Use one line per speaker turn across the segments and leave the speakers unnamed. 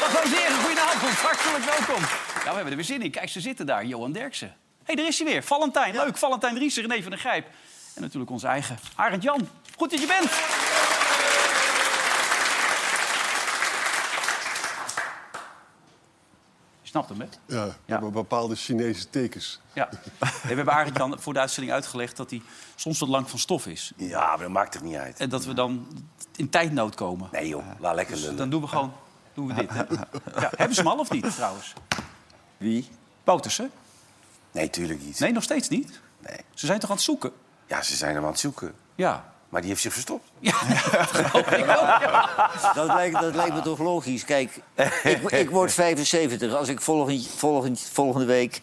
Dag dames en heren, goedenavond. Hartelijk welkom. Ja, Nou, we hebben er weer zin in. Kijk, ze zitten daar. Johan Derksen. hey, daar is hij weer. Valentijn. Leuk. Valentijn Driessen, René van der Grijp. En natuurlijk onze eigen Arend Jan. Goed dat je bent. Je snapt hem, hè?
Ja, we hebben bepaalde Chinese tekens.
Ja. Hey, we hebben Arend Jan voor de uitzending uitgelegd dat hij soms wat lang van stof is.
Ja, maar dat maakt toch niet uit.
En dat we dan in tijdnood komen.
Nee joh, laat lekker lullen.
Dan doen we gewoon doen we dit. Hè? Ja, hebben ze hem al of niet, trouwens?
Wie?
Boters, hè?
Nee, tuurlijk niet.
Nee, nog steeds niet.
Nee.
Ze zijn toch aan het zoeken?
Ja, ze zijn hem aan het zoeken.
Ja.
Maar die heeft zich verstopt.
Dat lijkt, dat lijkt me toch logisch. Kijk, ik, ik word 75. Als ik volgend, volgend, volgende week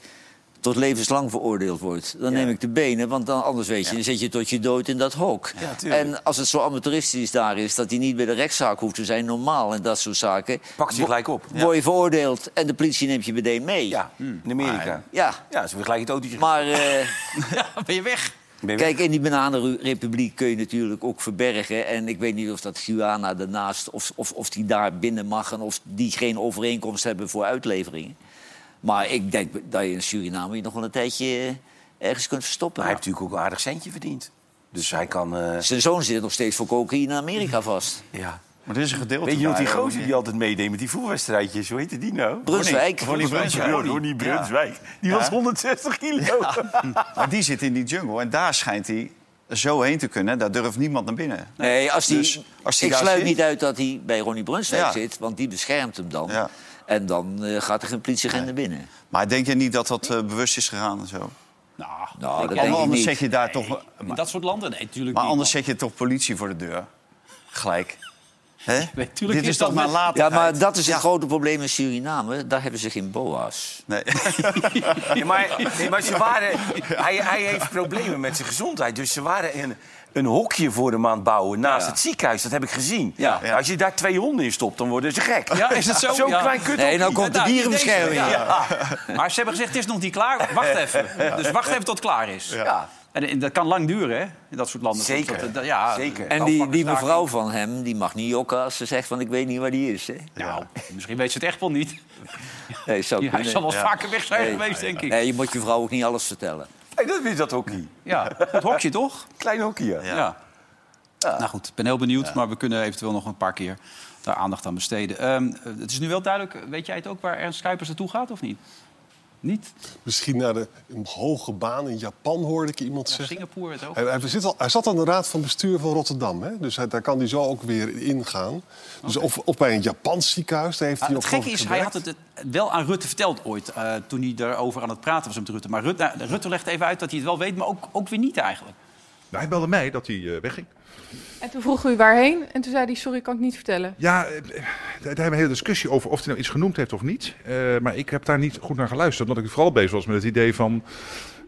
tot levenslang veroordeeld word... dan neem ik de benen, want dan, anders weet je... dan zit je tot je dood in dat hok. en als het zo amateuristisch daar is... dat hij niet bij de rechtszaak hoeft te zijn, normaal en dat soort zaken...
Pakt hij gelijk op.
word je veroordeeld en de politie neemt je meteen mee.
Ja, in Amerika.
Ja.
Hmm. eh, Ja, ze hebben gelijk het autootje.
Maar eh,
Ja, ben je weg?
Ben je
kijk, in die bananenrepubliek kun je natuurlijk ook verbergen. En ik weet niet of dat Guyana daarnaast, of, of, of die daar binnen mag... en of die geen overeenkomst hebben voor uitleveringen. Maar ik denk dat je in Suriname je nog wel een tijdje eh, ergens kunt verstoppen.
Maar hij heeft natuurlijk ook een aardig centje verdiend. Dus hij kan... eh,
Zijn zoon zit nog steeds voor cocaïne in Amerika vast.
ja.
Maar dit is een gedeelte.
Weet je nog die
daar,
gozer
eh,
die altijd meedeed met die voerwedstrijdjes? Hoe heette die nou?
Brunswijk.
Ronnie Brunswijk.
Ja, Ronnie Brunswijk. Die was 160 kilo.
Maar die zit in die jungle en daar schijnt hij zo heen te kunnen. Daar durft niemand naar binnen.
Nee, als die,
Dus als die
ik
daar
sluit
zit-
niet uit dat hij bij Ronnie Brunswijk
Ja.
zit, want die beschermt hem dan.
Ja.
En dan eh, gaat er geen politieagent naar binnen.
Maar denk je niet dat dat eh, bewust is gegaan en zo?
Nou,
Nou, dat denk
Anders
ik niet.
zet je daar toch...
in dat soort landen? Nee, natuurlijk
Maar
niet.
anders eh, zet je toch politie voor de deur? Gelijk. Hè?
Nee, tuurlijk
Dit
is
is
dat
toch maar
met-
later.
Ja, maar dat is het grote probleem in Suriname. Daar hebben ze geen boa's.
Nee.
Ja, maar, nee, maar ze waren, hij, hij heeft problemen met zijn gezondheid. Dus ze waren een, een hokje voor hem aan het bouwen naast het ziekenhuis. Dat heb ik gezien.
Ja.
Ja, Als je daar twee honden in stopt, dan worden ze gek.
Ja, is dat zo?
Zo'n
Ja.
klein kut.
Nee, nou
Ja,
komt de
daar,
dierenbescherming.
deze, ja. Maar ze hebben gezegd, het is nog niet klaar. Wacht even. Dus wacht even tot het klaar is. Ja. En, en dat kan lang duren, hè? In dat soort landen.
Zeker.
Dat- dat- ja,
Zeker.
En die, die
Afpakken,
mevrouw van hem, die mag niet jokken als ze zegt van ik weet niet waar die is. Hè?
Nou, misschien weet ze het echt wel niet.
Nee, zou
Hij
kunnen.
zal wel vaker weg zijn
Nee.
geweest, denk ik.
Nee, je moet je vrouw ook niet alles vertellen.
Hey, dat is dat hokje.
Ja, goed hokje toch?
Klein hokje. ja.
Ja. Nou goed, ik ben heel benieuwd, maar we kunnen eventueel nog een paar keer daar aandacht aan besteden. Ehm, eh, het is nu wel duidelijk, weet jij het ook waar Ernst Kuipers naartoe gaat of niet? Niet?
Misschien naar de een hoge baan in Japan hoorde ik iemand zeggen.
Singapore werd ook.
Hij, hij, zit al, hij zat aan de raad van bestuur van Rotterdam. Hè? Dus hij- daar kan hij zo ook weer ingaan. Dus of, of bij een Japans ziekenhuis, daar heeft
Ah,
hij
het
ook
gekke
over
is, hij
gewerkt.
had het het wel aan Rutte verteld ooit... eh, toen hij daarover aan het praten was met Rutte. Maar Rutte, nou, Rutte legt even uit dat hij het wel weet, maar ook, ook weer niet eigenlijk.
Nou, hij belde mij dat hij eh, wegging.
En toen vroeg u waarheen en toen zei hij, sorry, kan ik niet vertellen.
Ja, eh, eh, daar hebben we een hele discussie over of hij nou iets genoemd heeft of niet. Eh, maar ik heb daar niet goed naar geluisterd, omdat ik vooral bezig was met het idee van...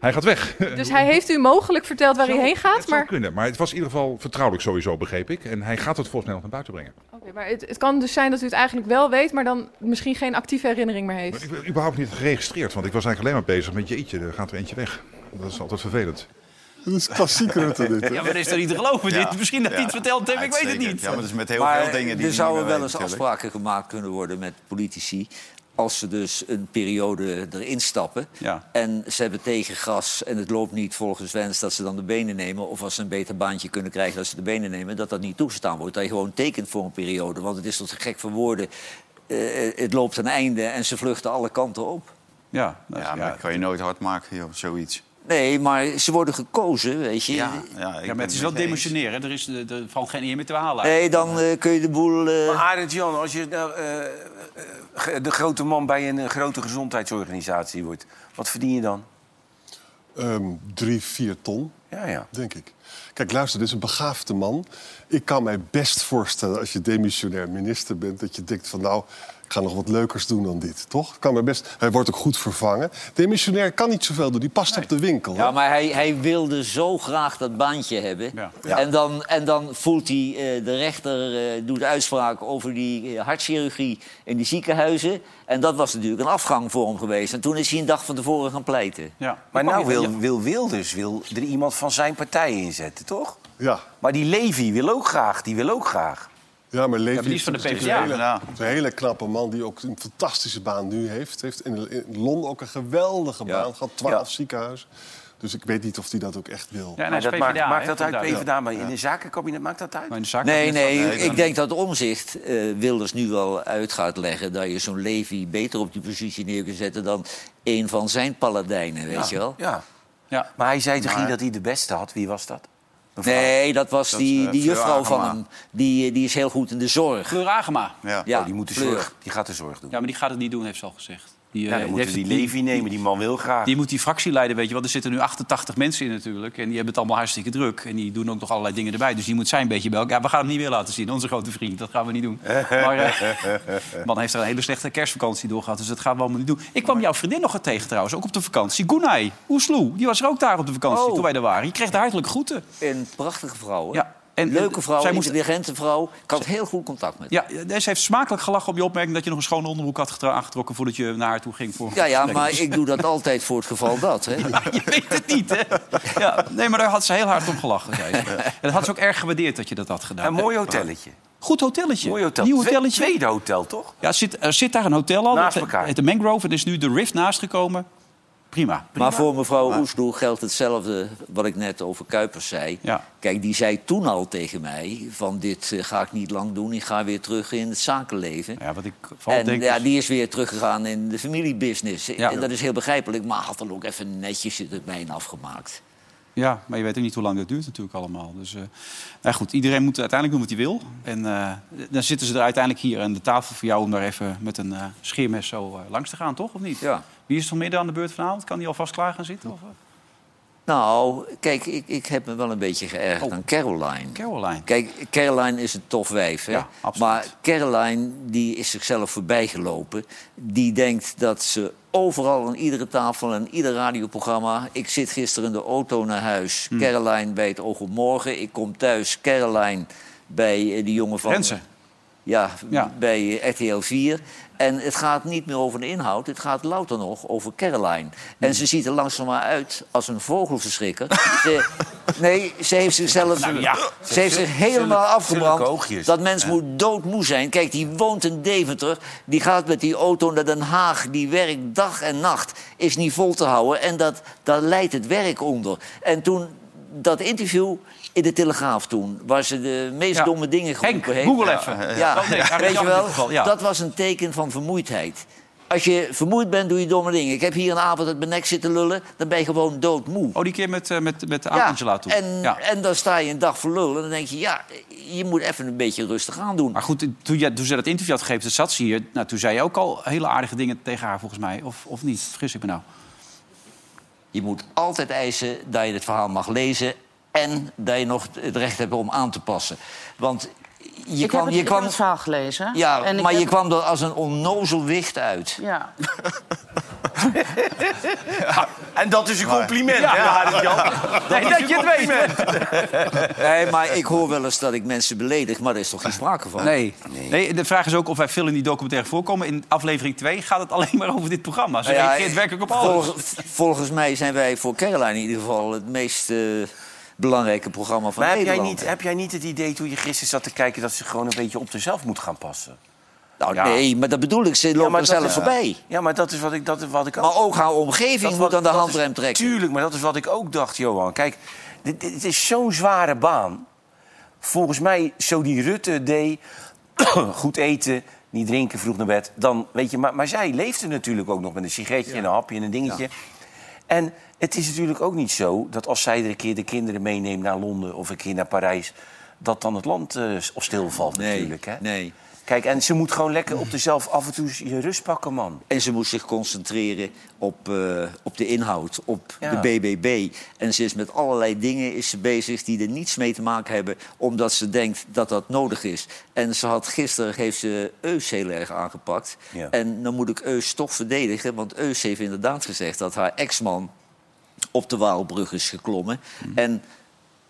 Hij gaat weg.
Dus hij heeft u mogelijk verteld waar
Zo,
hij heen
het
gaat,
zou
maar...
kunnen, maar het was in ieder geval vertrouwelijk sowieso, begreep ik. En hij gaat het volgens mij nog naar buiten brengen.
Oké, maar het, het kan dus zijn dat u het eigenlijk wel weet, maar dan misschien geen actieve herinnering meer
Maar
heeft.
ik ben überhaupt niet geregistreerd, want ik was eigenlijk alleen maar bezig met... Jeetje, er gaat er eentje weg. Dat is altijd vervelend.
Dat is klassiek Rutte dit. hè?
Ja, maar dat is toch niet te geloven?
Ja.
Dit? Misschien dat hij het
Ja.
verteld heeft, ik weet het
Uitstekend.
niet.
Ja, maar dat is met heel
maar
veel dingen die
er
je
zouden
niet
wel
meer
eens
weet, natuurlijk.
afspraken gemaakt kunnen worden met politici... als ze dus een periode erin stappen...
Ja.
en ze hebben tegengas en het loopt niet volgens wens... dat ze dan de benen nemen... of als ze een beter baantje kunnen krijgen dat ze de benen nemen... dat dat niet toegestaan wordt. Dat je gewoon tekent voor een periode. Want het is tot gek voor woorden. Eh, het loopt een einde en ze vluchten alle kanten op.
Ja, dat is-
Ja, maar dat kan je nooit hard maken, joh, zoiets.
Nee, maar ze worden gekozen, weet je.
Ja, ja, ik
Ja, maar het is wel demissionair. hè. Er is eh, er valt geen eer meer te halen.
Nee, dan eh, kun je de boel... eh,
Maar Arend Jan, als je nou, eh, eh, ge- de grote man bij een eh, grote gezondheidsorganisatie wordt... wat verdien je dan?
Ehm, drie, vier ton.
Ja, ja.
denk ik. Kijk, luister, dit is een begaafde man. Ik kan mij best voorstellen, als je demissionair minister bent... dat je denkt van, nou, ik ga nog wat leukers doen dan dit, toch? Ik Kan mij best, hij wordt ook goed vervangen. Demissionair kan niet zoveel doen, die past op de winkel.
Ja,
hè?
maar hij, hij wilde zo graag dat baantje hebben.
Ja.
En, dan, en dan voelt hij, eh, de rechter eh, doet uitspraak over die eh, hartchirurgie in die ziekenhuizen. En dat was natuurlijk een afgang voor hem geweest. En toen is hij een dag van tevoren gaan pleiten.
Ja.
Maar
Kwam
nou
je-
wil, wil Wilders wil er iemand van zijn partij inzetten, toch?
Ja.
Maar die Levy wil ook graag, die wil ook graag.
Ja, maar Levi
die is van de
natuurlijk
PvdA.
Een hele,
Ja.
een hele knappe man die ook een fantastische baan nu heeft. Heeft in, in Londen ook een geweldige baan gehad. Twaalf ziekenhuizen. Dus ik weet niet of hij dat ook echt wil.
Ja, en hij
Maar
is
dat maakt,
PvdA,
maakt
hè,
dat uit,
vandaar.
PvdA, maar in een zakenkabinet maakt dat uit?
Maar in de zaak-
Nee, nee, ik denk dat omzicht eh, Wilders nu wel uit gaat leggen... dat je zo'n Levy beter op die positie neer kunt zetten... dan een van zijn paladijnen, weet je wel?
Ja.
Ja.
Maar hij zei toch niet dat hij de beste had? Wie was dat?
Nee, dat was die,
eh,
die
Fleur
juffrouw van
Agema.
hem. Die, die is heel goed in de zorg.
Geur Agema.
Ja.
Ja,
Oh, die, moet de
Fleur.
zorg, die gaat de zorg doen.
Ja, maar die gaat het niet doen, heeft ze al gezegd. Die, eh,
Ja, dan moeten
heeft
we die
het-
Levy nemen, die man wil graag.
Die moet die fractie leiden, weet je. Want er zitten nu 88 mensen in natuurlijk. En die hebben het allemaal hartstikke druk. En die doen ook nog allerlei dingen erbij. Dus die moet zijn beetje bij elkaar. Ja, we gaan hem niet weer laten zien. Onze grote vriend. Dat gaan we niet doen. Maar eh, man heeft er een hele slechte kerstvakantie door gehad. Dus dat gaan we allemaal niet doen. Ik kwam jouw vriendin nog wat tegen trouwens. Ook op de vakantie. Gunay Oesloe. Die was er ook daar op de vakantie
Oh.
toen wij er waren. Die kreeg de hartelijke groeten.
Een prachtige vrouw, hè?
Ja, en-
Leuke vrouw,
zij moest-
intelligente vrouw. Ik had heel goed contact met haar.
Ja, eh, ze heeft smakelijk gelachen op je opmerking... dat je nog een schone onderbroek had getra- aangetrokken... voordat je naar haar toe ging voor een
Ja, ja,
gesprek.
maar ik doe dat altijd voor het geval dat, hè?
Ja, je weet het niet, hè? Ja, nee, maar daar had ze heel hard om gelachen. Zei ze. En dat had ze ook erg gewaardeerd dat je dat had gedaan.
Een mooi hotelletje.
Goed hotelletje.
Mooi hotel.
Nieuw
Twee-
hotelletje.
Tweede hotel, toch?
Ja, er zit, er zit daar een hotel al.
Naast
dat
elkaar.
heet de Mangrove. Er is nu de Rift naast gekomen. Prima.
Maar voor mevrouw Oesloe geldt hetzelfde wat ik net over Kuipers zei.
Ja.
Kijk, die zei toen al tegen mij van dit eh, ga ik niet lang doen. Ik ga weer terug in het zakenleven.
Ja, wat ik vooral
En
denk...
ja,
is-
die is weer teruggegaan in de familiebusiness.
Ja.
En dat is heel begrijpelijk, maar had dan ook even netjes de termijn afgemaakt.
ja, maar je weet ook niet hoe lang dat duurt natuurlijk allemaal. Dus eh, nou goed, iedereen moet uiteindelijk doen wat hij wil. En eh, dan zitten ze er uiteindelijk hier aan de tafel voor jou... om daar even met een eh, scheermes zo eh, langs te gaan, toch? Of niet?
Ja.
Wie is vanmiddag aan de beurt vanavond? Kan die alvast klaar gaan zitten? Of, eh?
Nou, kijk, ik, ik heb me wel een beetje geërgerd aan Caroline.
Caroline.
Kijk, Caroline is een tof wijf, hè?
Ja, absoluut.
maar Caroline die is zichzelf voorbijgelopen. Die denkt dat ze overal aan iedere tafel en ieder radioprogramma... Ik zit gisteren in de auto naar huis,
Hmm.
Caroline bij het Oog op Morgen. Ik kom thuis, Caroline bij eh, die jongen van...
Rensen.
Ja,
Ja.
bij eh, RTL 4. En het gaat niet meer over de inhoud, het gaat louter nog over Caroline.
Hmm.
En ze ziet er langzaam maar uit als een vogelverschrikker. ze, nee, ze heeft zichzelf...
ja.
Ze heeft zich helemaal
zulke
afgebrand.
oogjes.
Dat mens moet doodmoe zijn. Kijk, die woont in Deventer. Die gaat met die auto naar Den Haag. Die werkt dag en nacht. Is niet vol te houden. En dat, daar leidt het werk onder. En toen dat interview in de Telegraaf toen... waar ze de meest
Ja.
domme dingen
Henk,
geroepen heeft.
Google even.
Ja,
Oh, nee, Arend
weet
Jan
je
in dit
wel,
geval, ja.
dat was een teken van vermoeidheid. Als je vermoeid bent, doe je domme dingen. Ik heb hier een avond uit mijn nek zitten lullen, dan ben je gewoon doodmoe.
Oh, die keer met, eh, met, met
Ja,
Angela toen.
En,
ja.
en dan sta je een dag voor lul en dan denk je, ja, je moet even een beetje rustig aan doen.
Maar goed, toen, jij, toen ze dat interview had gegeven, toen zat ze hier. Nou, toen zei je ook al hele aardige dingen tegen haar, volgens mij. Of, of niet? Vergis ik me nou.
Je moet altijd eisen dat je het verhaal mag lezen en dat je nog het recht hebt om aan te passen. Want je
ik
kwam,
heb het,
je
ik
kwam,
heb het verhaal gelezen.
ja,
En ik
maar je
heb-
kwam er als een onnozel wicht uit.
Ja.
En dat is een compliment, hè, Harry Jan?
Nee, dat je het weet.
Nee, maar ik hoor wel eens dat ik mensen beledig, maar daar is toch geen sprake van.
Nee. nee, de vraag is ook of wij veel in die documentaire voorkomen. In aflevering 2 gaat het alleen maar over dit programma. Ze
Nou ja,
reageert werkelijk op alles.
volgens- volgens mij zijn wij voor Caroline in ieder geval het meest eh, belangrijke programma van
Maar heb jij,
Nederland.
niet, heb jij niet het idee toen je gisteren zat te kijken... dat ze gewoon een beetje op zichzelf moet gaan passen?
Nou, Nee, maar dat bedoel ik. Ze lopen
maar
er
dat
zelf
is-
voorbij.
Ja, maar dat is wat ik, dat is wat ik ook...
Maar ook haar omgeving
dat
moet
wat-
aan de
dat
handrem
is-
trekken.
Tuurlijk, maar dat is wat ik ook dacht, Johan. Kijk, dit, dit- het is zo'n zware baan. Volgens mij, zo die Rutte deed... goed eten, niet drinken, vroeg naar bed. Dan, weet je, maar, maar zij leefde natuurlijk ook nog met een sigaretje en een hapje en een dingetje. En het is natuurlijk ook niet zo dat als zij er een keer de kinderen meeneemt naar Londen... of een keer naar Parijs, dat dan het land eh, s- of stilvalt
Nee,
natuurlijk. Hè?
nee.
Kijk, en ze moet gewoon lekker op zichzelf af en toe je rust pakken, man.
En ze moest zich concentreren op, eh, op de inhoud, op
Ja.
de BBB. En ze is met allerlei dingen is ze bezig die er niets mee te maken hebben... omdat ze denkt dat dat nodig is. En ze had gisteren heeft ze Eus heel erg aangepakt.
Ja.
En dan moet ik Eus toch verdedigen... want Eus heeft inderdaad gezegd dat haar ex-man op de Waalbrug is geklommen.
Mhm.
En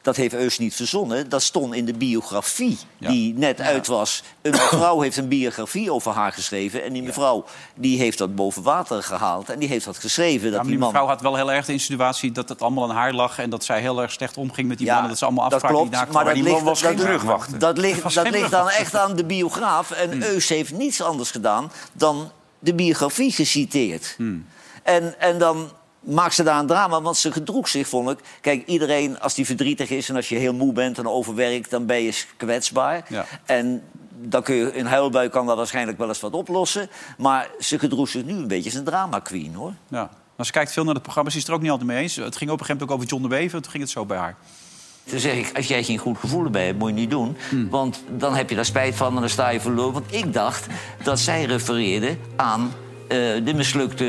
dat heeft Eus niet verzonnen. Dat stond in de biografie
Ja.
die net uit was. Een mevrouw heeft een biografie over haar geschreven. En die mevrouw die heeft dat boven water gehaald. En die heeft dat geschreven.
Ja,
dat
maar
die
die
man...
mevrouw had wel heel erg de insinuatie dat het allemaal aan haar lag... en dat zij heel erg slecht omging met die
Ja,
mannen. Dat ze allemaal
dat
afspraken
klopt,
die daar
maar
kwamen.
dat ligt-
was
dat-
geen brugwachter.
Dat ligt,
was
dat
geen Hmm.
ligt dan echt aan de biograaf. En Eus heeft niets anders gedaan dan de biografie geciteerd.
Hmm.
En, en dan maakt ze daar een drama, want ze gedroeg zich, vond ik. Kijk, iedereen, als die verdrietig is en als je heel moe bent en overwerkt... dan ben je kwetsbaar.
Ja.
En dan kun je, een huilbui kan daar waarschijnlijk wel eens wat oplossen. Maar ze gedroeg zich nu een beetje als een drama queen, hoor.
Ja. Maar ze kijkt veel naar het programma, ze is het er ook niet altijd mee eens. Het ging op een gegeven moment ook over John de Wever, toen ging het zo bij haar.
Toen zeg ik, als jij geen goed gevoel erbij hebt, moet je niet doen.
Hmm.
Want dan heb je daar spijt van en dan sta je verloren. Want ik dacht dat zij refereerde aan eh, de mislukte...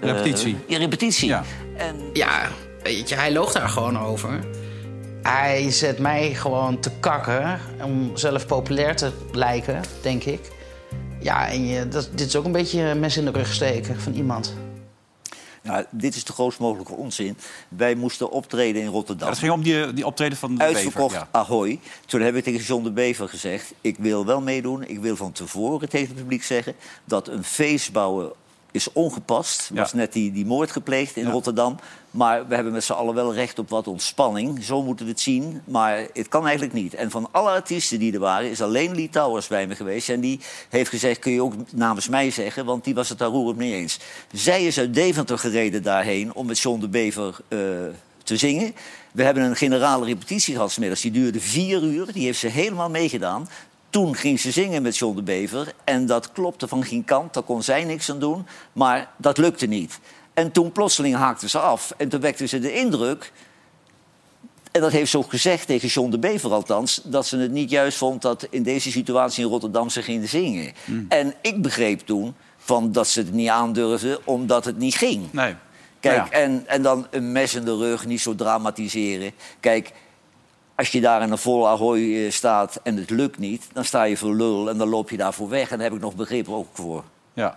eh,
Repetitie.
Ja, repetitie.
Ja.
En
Ja, weet je, hij loog daar gewoon over. Hij zet mij gewoon te kakken om zelf populair te lijken, denk ik. Ja, en je, dat, dit is ook een beetje mes in de rug steken van iemand.
nou, dit is de grootst mogelijke onzin. Wij moesten optreden in Rotterdam.
Het ging om die, die optreden van de
Uitverkocht
Wever. ja.
Ahoy. Toen heb ik tegen John de Bever gezegd... ik wil wel meedoen, ik wil van tevoren tegen het publiek zeggen... dat een feest bouwen is ongepast. Er
Ja.
was net die, die moord gepleegd in Rotterdam. Maar we hebben met z'n allen wel recht op wat ontspanning. Zo moeten we het zien, maar het kan eigenlijk niet. En van alle artiesten die er waren, is alleen Lee Towers bij me geweest. En die heeft gezegd, kun je ook namens mij zeggen... want die was het daar roerend mee eens. Zij is uit Deventer gereden daarheen om met John de Bever... eh, te zingen. We hebben een generale repetitie gehad smiddags. Die duurde vier uur. Die heeft ze helemaal meegedaan. Toen ging ze zingen met John de Bever. En dat klopte van geen kant. Daar kon zij niks aan doen. Maar dat lukte niet. En toen plotseling haakte ze af. En toen wekte ze de indruk en dat heeft ze ook gezegd tegen John de Bever althans... dat ze het niet juist vond dat in deze situatie in Rotterdam ze ging zingen. En ik begreep toen van dat ze het niet aandurfde omdat het niet ging.
Nee.
Kijk,
Nou ja.
en, en dan een mes in de rug, niet zo dramatiseren. Kijk, als je daar in een vol ahoy eh, staat en het lukt niet... dan sta je voor lul en dan loop je daarvoor weg. En daar heb ik nog begrip ook voor.
Ja.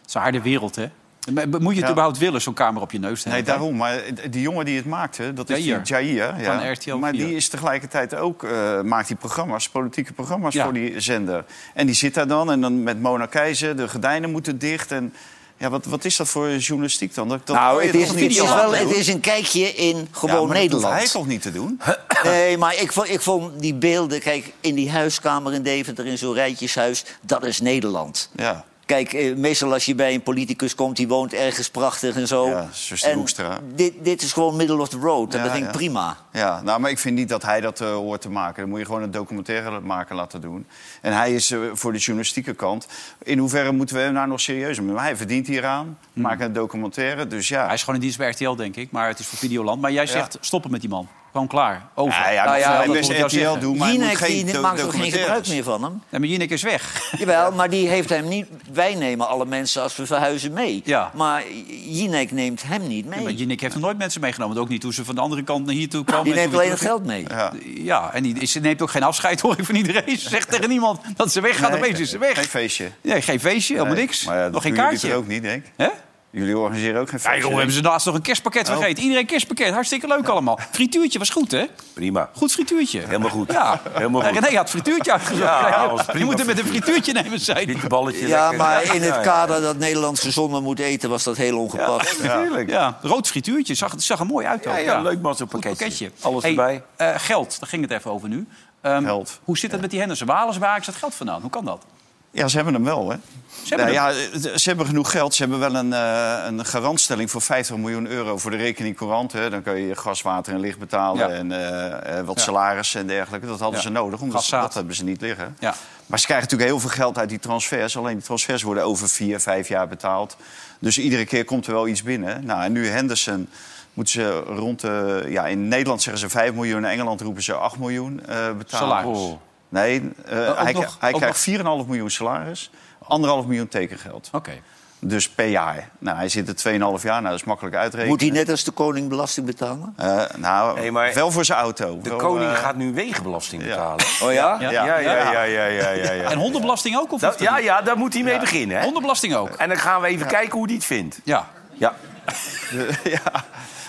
Het is een harde wereld, hè? Maar Moet je het
Ja.
überhaupt willen, zo'n kamer op je neus te
Nee,
hebben?
daarom. Maar die jongen die het maakte, dat is
Jair.
die Jair.
Van
Ja.
RTL
maar
4.
die is tegelijkertijd ook, eh, maakt die programma's, politieke programma's
Ja.
voor die zender. En die zit daar dan en dan met Mona Keizer, de gordijnen moeten dicht. En ja, wat, wat is dat voor journalistiek dan? Dat, dat
nou,
kan je
het is,
toch
het,
niet
is
laten
wel, het
doen?
is een kijkje in
Ja,
gewoon
maar dat
Nederland.
hoeft hij toch niet te doen?
Nee, maar ik vond, ik vond die beelden, kijk, in die huiskamer in Deventer, in zo'n rijtjeshuis, dat is Nederland.
Ja.
Kijk, eh, meestal als je bij een politicus komt, die woont ergens prachtig en zo.
Ja, zuster
En
Hoekstra.
Dit, dit is gewoon middle of the road en
Ja,
dat ging
ja.
prima.
Ja, nou, maar ik vind niet dat hij dat eh, hoort te maken. Dan moet je gewoon een documentaire maken laten doen. En hij is eh, voor de journalistieke kant. In hoeverre moeten we hem nou nog serieus nemen? Hij verdient hieraan, maakt een documentaire. Dus ja,
Hij is gewoon in dienst bij RTL, denk ik. Maar het is voor Videoland. Maar jij zegt, stoppen met die man. Gewoon klaar. Over.
Ja, ja,
Nou
nou
ja,
ja,
dat
best
moet ik jou
RTL
zeggen.
doen, maar hij moet
Jinek
geen
die
do-
maakt ook geen
documentaires.
gebruik meer van hem.
Nee, maar Jinek is weg.
Jawel, maar die heeft hem niet... Wij nemen alle mensen als we verhuizen mee.
Ja.
Maar Jinek neemt hem niet mee.
Maar Jinek heeft nog nooit mensen meegenomen. Ook niet toen ze van de andere kant naar hier toe kwamen.
die
En
neemt
toen
alleen
weer
het
terug-
geld mee.
Ja.
Ja, en die, ze neemt ook geen afscheid, hoor ik, van iedereen. Ze zegt tegen niemand dat ze weggaat.
Nee,
Opeens is ze weg.
Geen feestje.
Nee, geen feestje, helemaal
Nee.
niks.
Maar ja, dat
nog geen
doen jullie
kaartje.
toch ook niet, denk ik.
Hè?
Jullie organiseren ook geen
Ja,
feestje.
joh, hebben ze naast nog een kerstpakket
Oh.
vergeten. Iedereen kerstpakket, hartstikke leuk allemaal. Frituurtje was goed, hè?
Prima.
Goed frituurtje.
Helemaal goed.
Ja.
Helemaal goed.
René had frituurtje uitgezocht.
Ja, was prima
je moet er met een frituurtje nemen zijn.
Dit balletje
Ja,
lekker.
maar in
Ja,
het
ja.
kader dat Nederland gezonder moet eten... was dat heel ongepast.
Natuurlijk.
Ja, rood frituurtje. Zag, het zag er mooi uit. ook.
Ja, ja, leuk man, zo'n
Goed
pakketje. Alles erbij.
eh, geld, daar ging het even over nu. Ehm,
Geld.
Hoe zit het met die Henderson? Waar halen ze waar is dat geld vandaan? Hoe kan dat?
Ja, ze hebben hem wel, hè? Ze
hebben
ja, ze hebben genoeg geld. Ze hebben wel een, eh, een garantstelling voor 50 miljoen euro voor de rekening courant. Hè. Dan kun je je gas, water en licht betalen
Ja.
en eh, eh, wat
Ja.
salaris en dergelijke. Dat hadden
Ja.
ze nodig, omdat ze,
Gaszaad.
dat hebben ze niet liggen.
Ja.
Maar ze krijgen natuurlijk heel veel geld uit die transfers. Alleen die transfers worden over vier, vijf jaar betaald. Dus iedere keer komt er wel iets binnen. Nou, en nu Henderson moeten ze rond de... Ja, in Nederland zeggen ze 5 miljoen. In Engeland roepen ze 8 miljoen eh betalen.
Salaris. Oh.
Nee, eh,
ook
hij,
nog-
kri- hij
ook
krijgt 4,5 miljoen salaris, 1,5 miljoen tekengeld.
Oké.
Dus per jaar. Nou, hij zit er 2,5 jaar, nou, dat is makkelijk uitrekenen.
Moet hij net als de koning belasting betalen?
Eh, nou,
Nee, maar-
wel voor zijn auto.
De
Wel,
koning
eh,
gaat nu wegenbelasting
ja.
betalen.
Oh ja?
Ja, ja, ja, ja, ja, ja. ja,
En hondenbelasting ook? Of
Dat-
hoeft dat
Nou, ja,
niet?
ja, daar moet hij mee beginnen. Hè?
Hondenbelasting ook.
En dan gaan we even kijken hoe hij het vindt.
Ja.
Ja.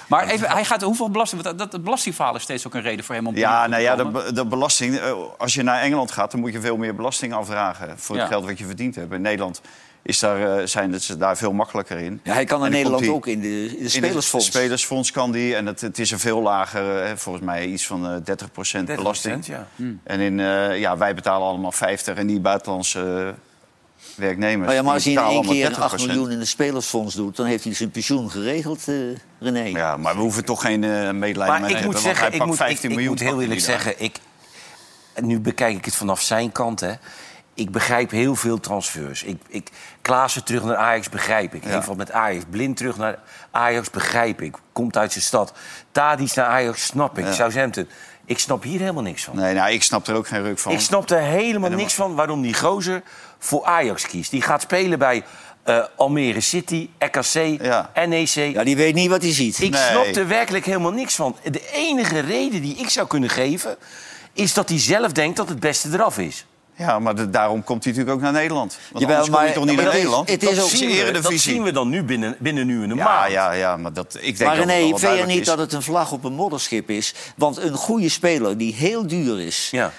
Maar even, hij gaat hoeveel belasting... want Dat, dat belastingverhaal is steeds ook een reden voor hem om...
Ja,
om te
nou ja, de,
komen.
be- de belasting. eh, Als je naar Engeland gaat, dan moet je veel meer belasting afdragen voor
Ja.
het geld wat je verdiend hebt. In Nederland is daar, eh, zijn het ze daar veel makkelijker in.
Ja, hij kan in
En dan komt
Nederland
hij-
ook in de, in de
in het
spelersfonds.
spelersfonds kan die. En het, het is een veel lager, eh, volgens mij iets van eh, 30 belasting.
30%, ja.
Hmm.
En in, eh, ja, wij betalen allemaal 50 en die buitenlandse eh, werknemers.
Nou ja, maar als
die
hij in één
betalen
keer
allemaal
8 miljoen in de spelersfonds doet... dan heeft hij zijn pensioen geregeld, eh, René.
Ja, maar we hoeven toch geen eh, medelijden
Maar
mee
ik
te
moet
hebben, want
zeggen,
hij
ik
pakt
moet,
15
ik, ik
miljoen
moet heel
pakt hij
eerlijk
daar.
zeggen, ik, nu bekijk ik het vanaf zijn kant. Hè. Ik begrijp heel veel transfers. Ik, ik, Klaassen terug naar Ajax begrijp ik. Even wat met Ajax. Blind terug naar Ajax begrijp ik. Komt uit zijn stad. Tadic naar Ajax snap ik. Southampton. Ik snap hier helemaal niks van.
Nee, nou, ik snap er ook geen ruk van.
Ik snap er helemaal niks van waarom die gozer voor Ajax kiest. Die gaat spelen bij eh, Almere City, RKC,
Ja.
NEC.
Ja, die weet niet wat hij ziet.
E Ik
Nee.
snap er werkelijk helemaal niks van. De enige reden die ik zou kunnen geven... is dat hij zelf denkt dat het beste eraf is.
Ja, maar de- daarom komt hij natuurlijk ook naar Nederland. Want
Jawel,
anders kom
maar-
je toch niet
maar
naar
dat is-
Nederland?
het is
dat
ook-
is de
zien we-
dat zien
eredivisie.
we dan nu binnen, binnen nu en een
Ja,
maand.
ja, ja, maar dat, ik denk
Maar
dat het
René,
wel
vind je
duidelijk
niet
is.
dat het een vlag op een modderschip is? Want een goede speler die heel duur is...
Ja.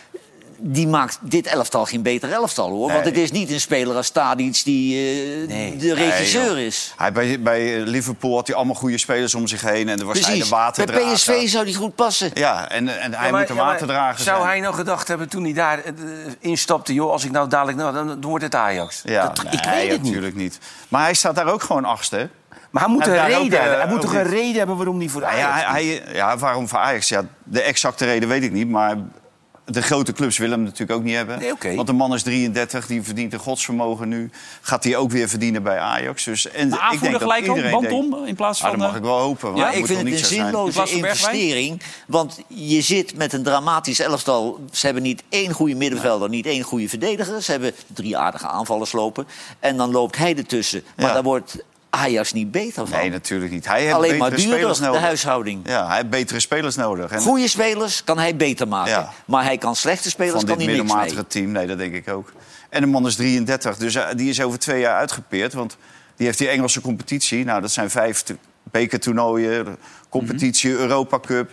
die maakt dit elftal geen beter elftal, hoor. Want
Nee.
het is niet een speler als Tadic die eh, de regisseur
Nee, joh.
is.
Hij, bij, bij eh, Liverpool had hij allemaal goede spelers om zich heen. En er was hij de
Precies. Bij
waterdrager.
PSV zou die goed passen.
Ja, en, en hij
Ja, maar-
moet de
ja, maar
waterdrager
Zou
zijn.
hij nou gedacht hebben toen hij daar eh, instapte... joh, als ik nou dadelijk... Nou, dan, dan wordt het Ajax.
Ja,
Dat-
nee,
ik weet het niet.
natuurlijk niet. Maar hij staat daar ook gewoon achtste. hè?
Maar hij moet,
Hij
een
heeft daar
reden,
ook, eh,
hebben. hij moet
ook
toch een
niet-
reden hebben waarom hij voor
Ja,
Ajax
ja,
kiest?
hij, ja, waarom voor Ajax? Ja, de exacte reden weet ik niet, maar de grote clubs willen hem natuurlijk ook niet hebben.
Nee, oké.
Want de man is 33, die verdient een godsvermogen nu. Gaat hij ook weer verdienen bij Ajax. Dus, en
Maar aanvoerder gelijk
dat
ook,
iedereen
bandom,
denkt-
in plaats
Ah,
van...
dat mag
eh,
ik wel hopen. want
Ja,
dat
ik
moet
vind
toch
het een
niet zo zijn?
zinloze
plaats van Bergwijn?
investering. Want je zit met een dramatisch elftal. Ze hebben niet één goede middenvelder, niet één goede verdediger. Ze hebben drie aardige aanvallers lopen. En dan loopt hij ertussen. Maar
Ja.
daar wordt Ajax niet beter van.
Nee, natuurlijk niet. Hij heeft
eh, Alleen
betere
maar duurder,
spelers
de
nodig.
huishouding.
Ja, hij heeft betere spelers nodig. En
Goede spelers kan hij beter maken.
Ja.
Maar hij kan slechte spelers,
van
kan
dit
hij niks mee.
middelmatige team, nee, dat denk ik ook. En de man is 33, dus eh, die is over twee jaar uitgepeerd. Want die heeft die Engelse competitie. Nou, dat zijn vijf to- bekertoernooien, competitie,
Mhm.
Europa Cup.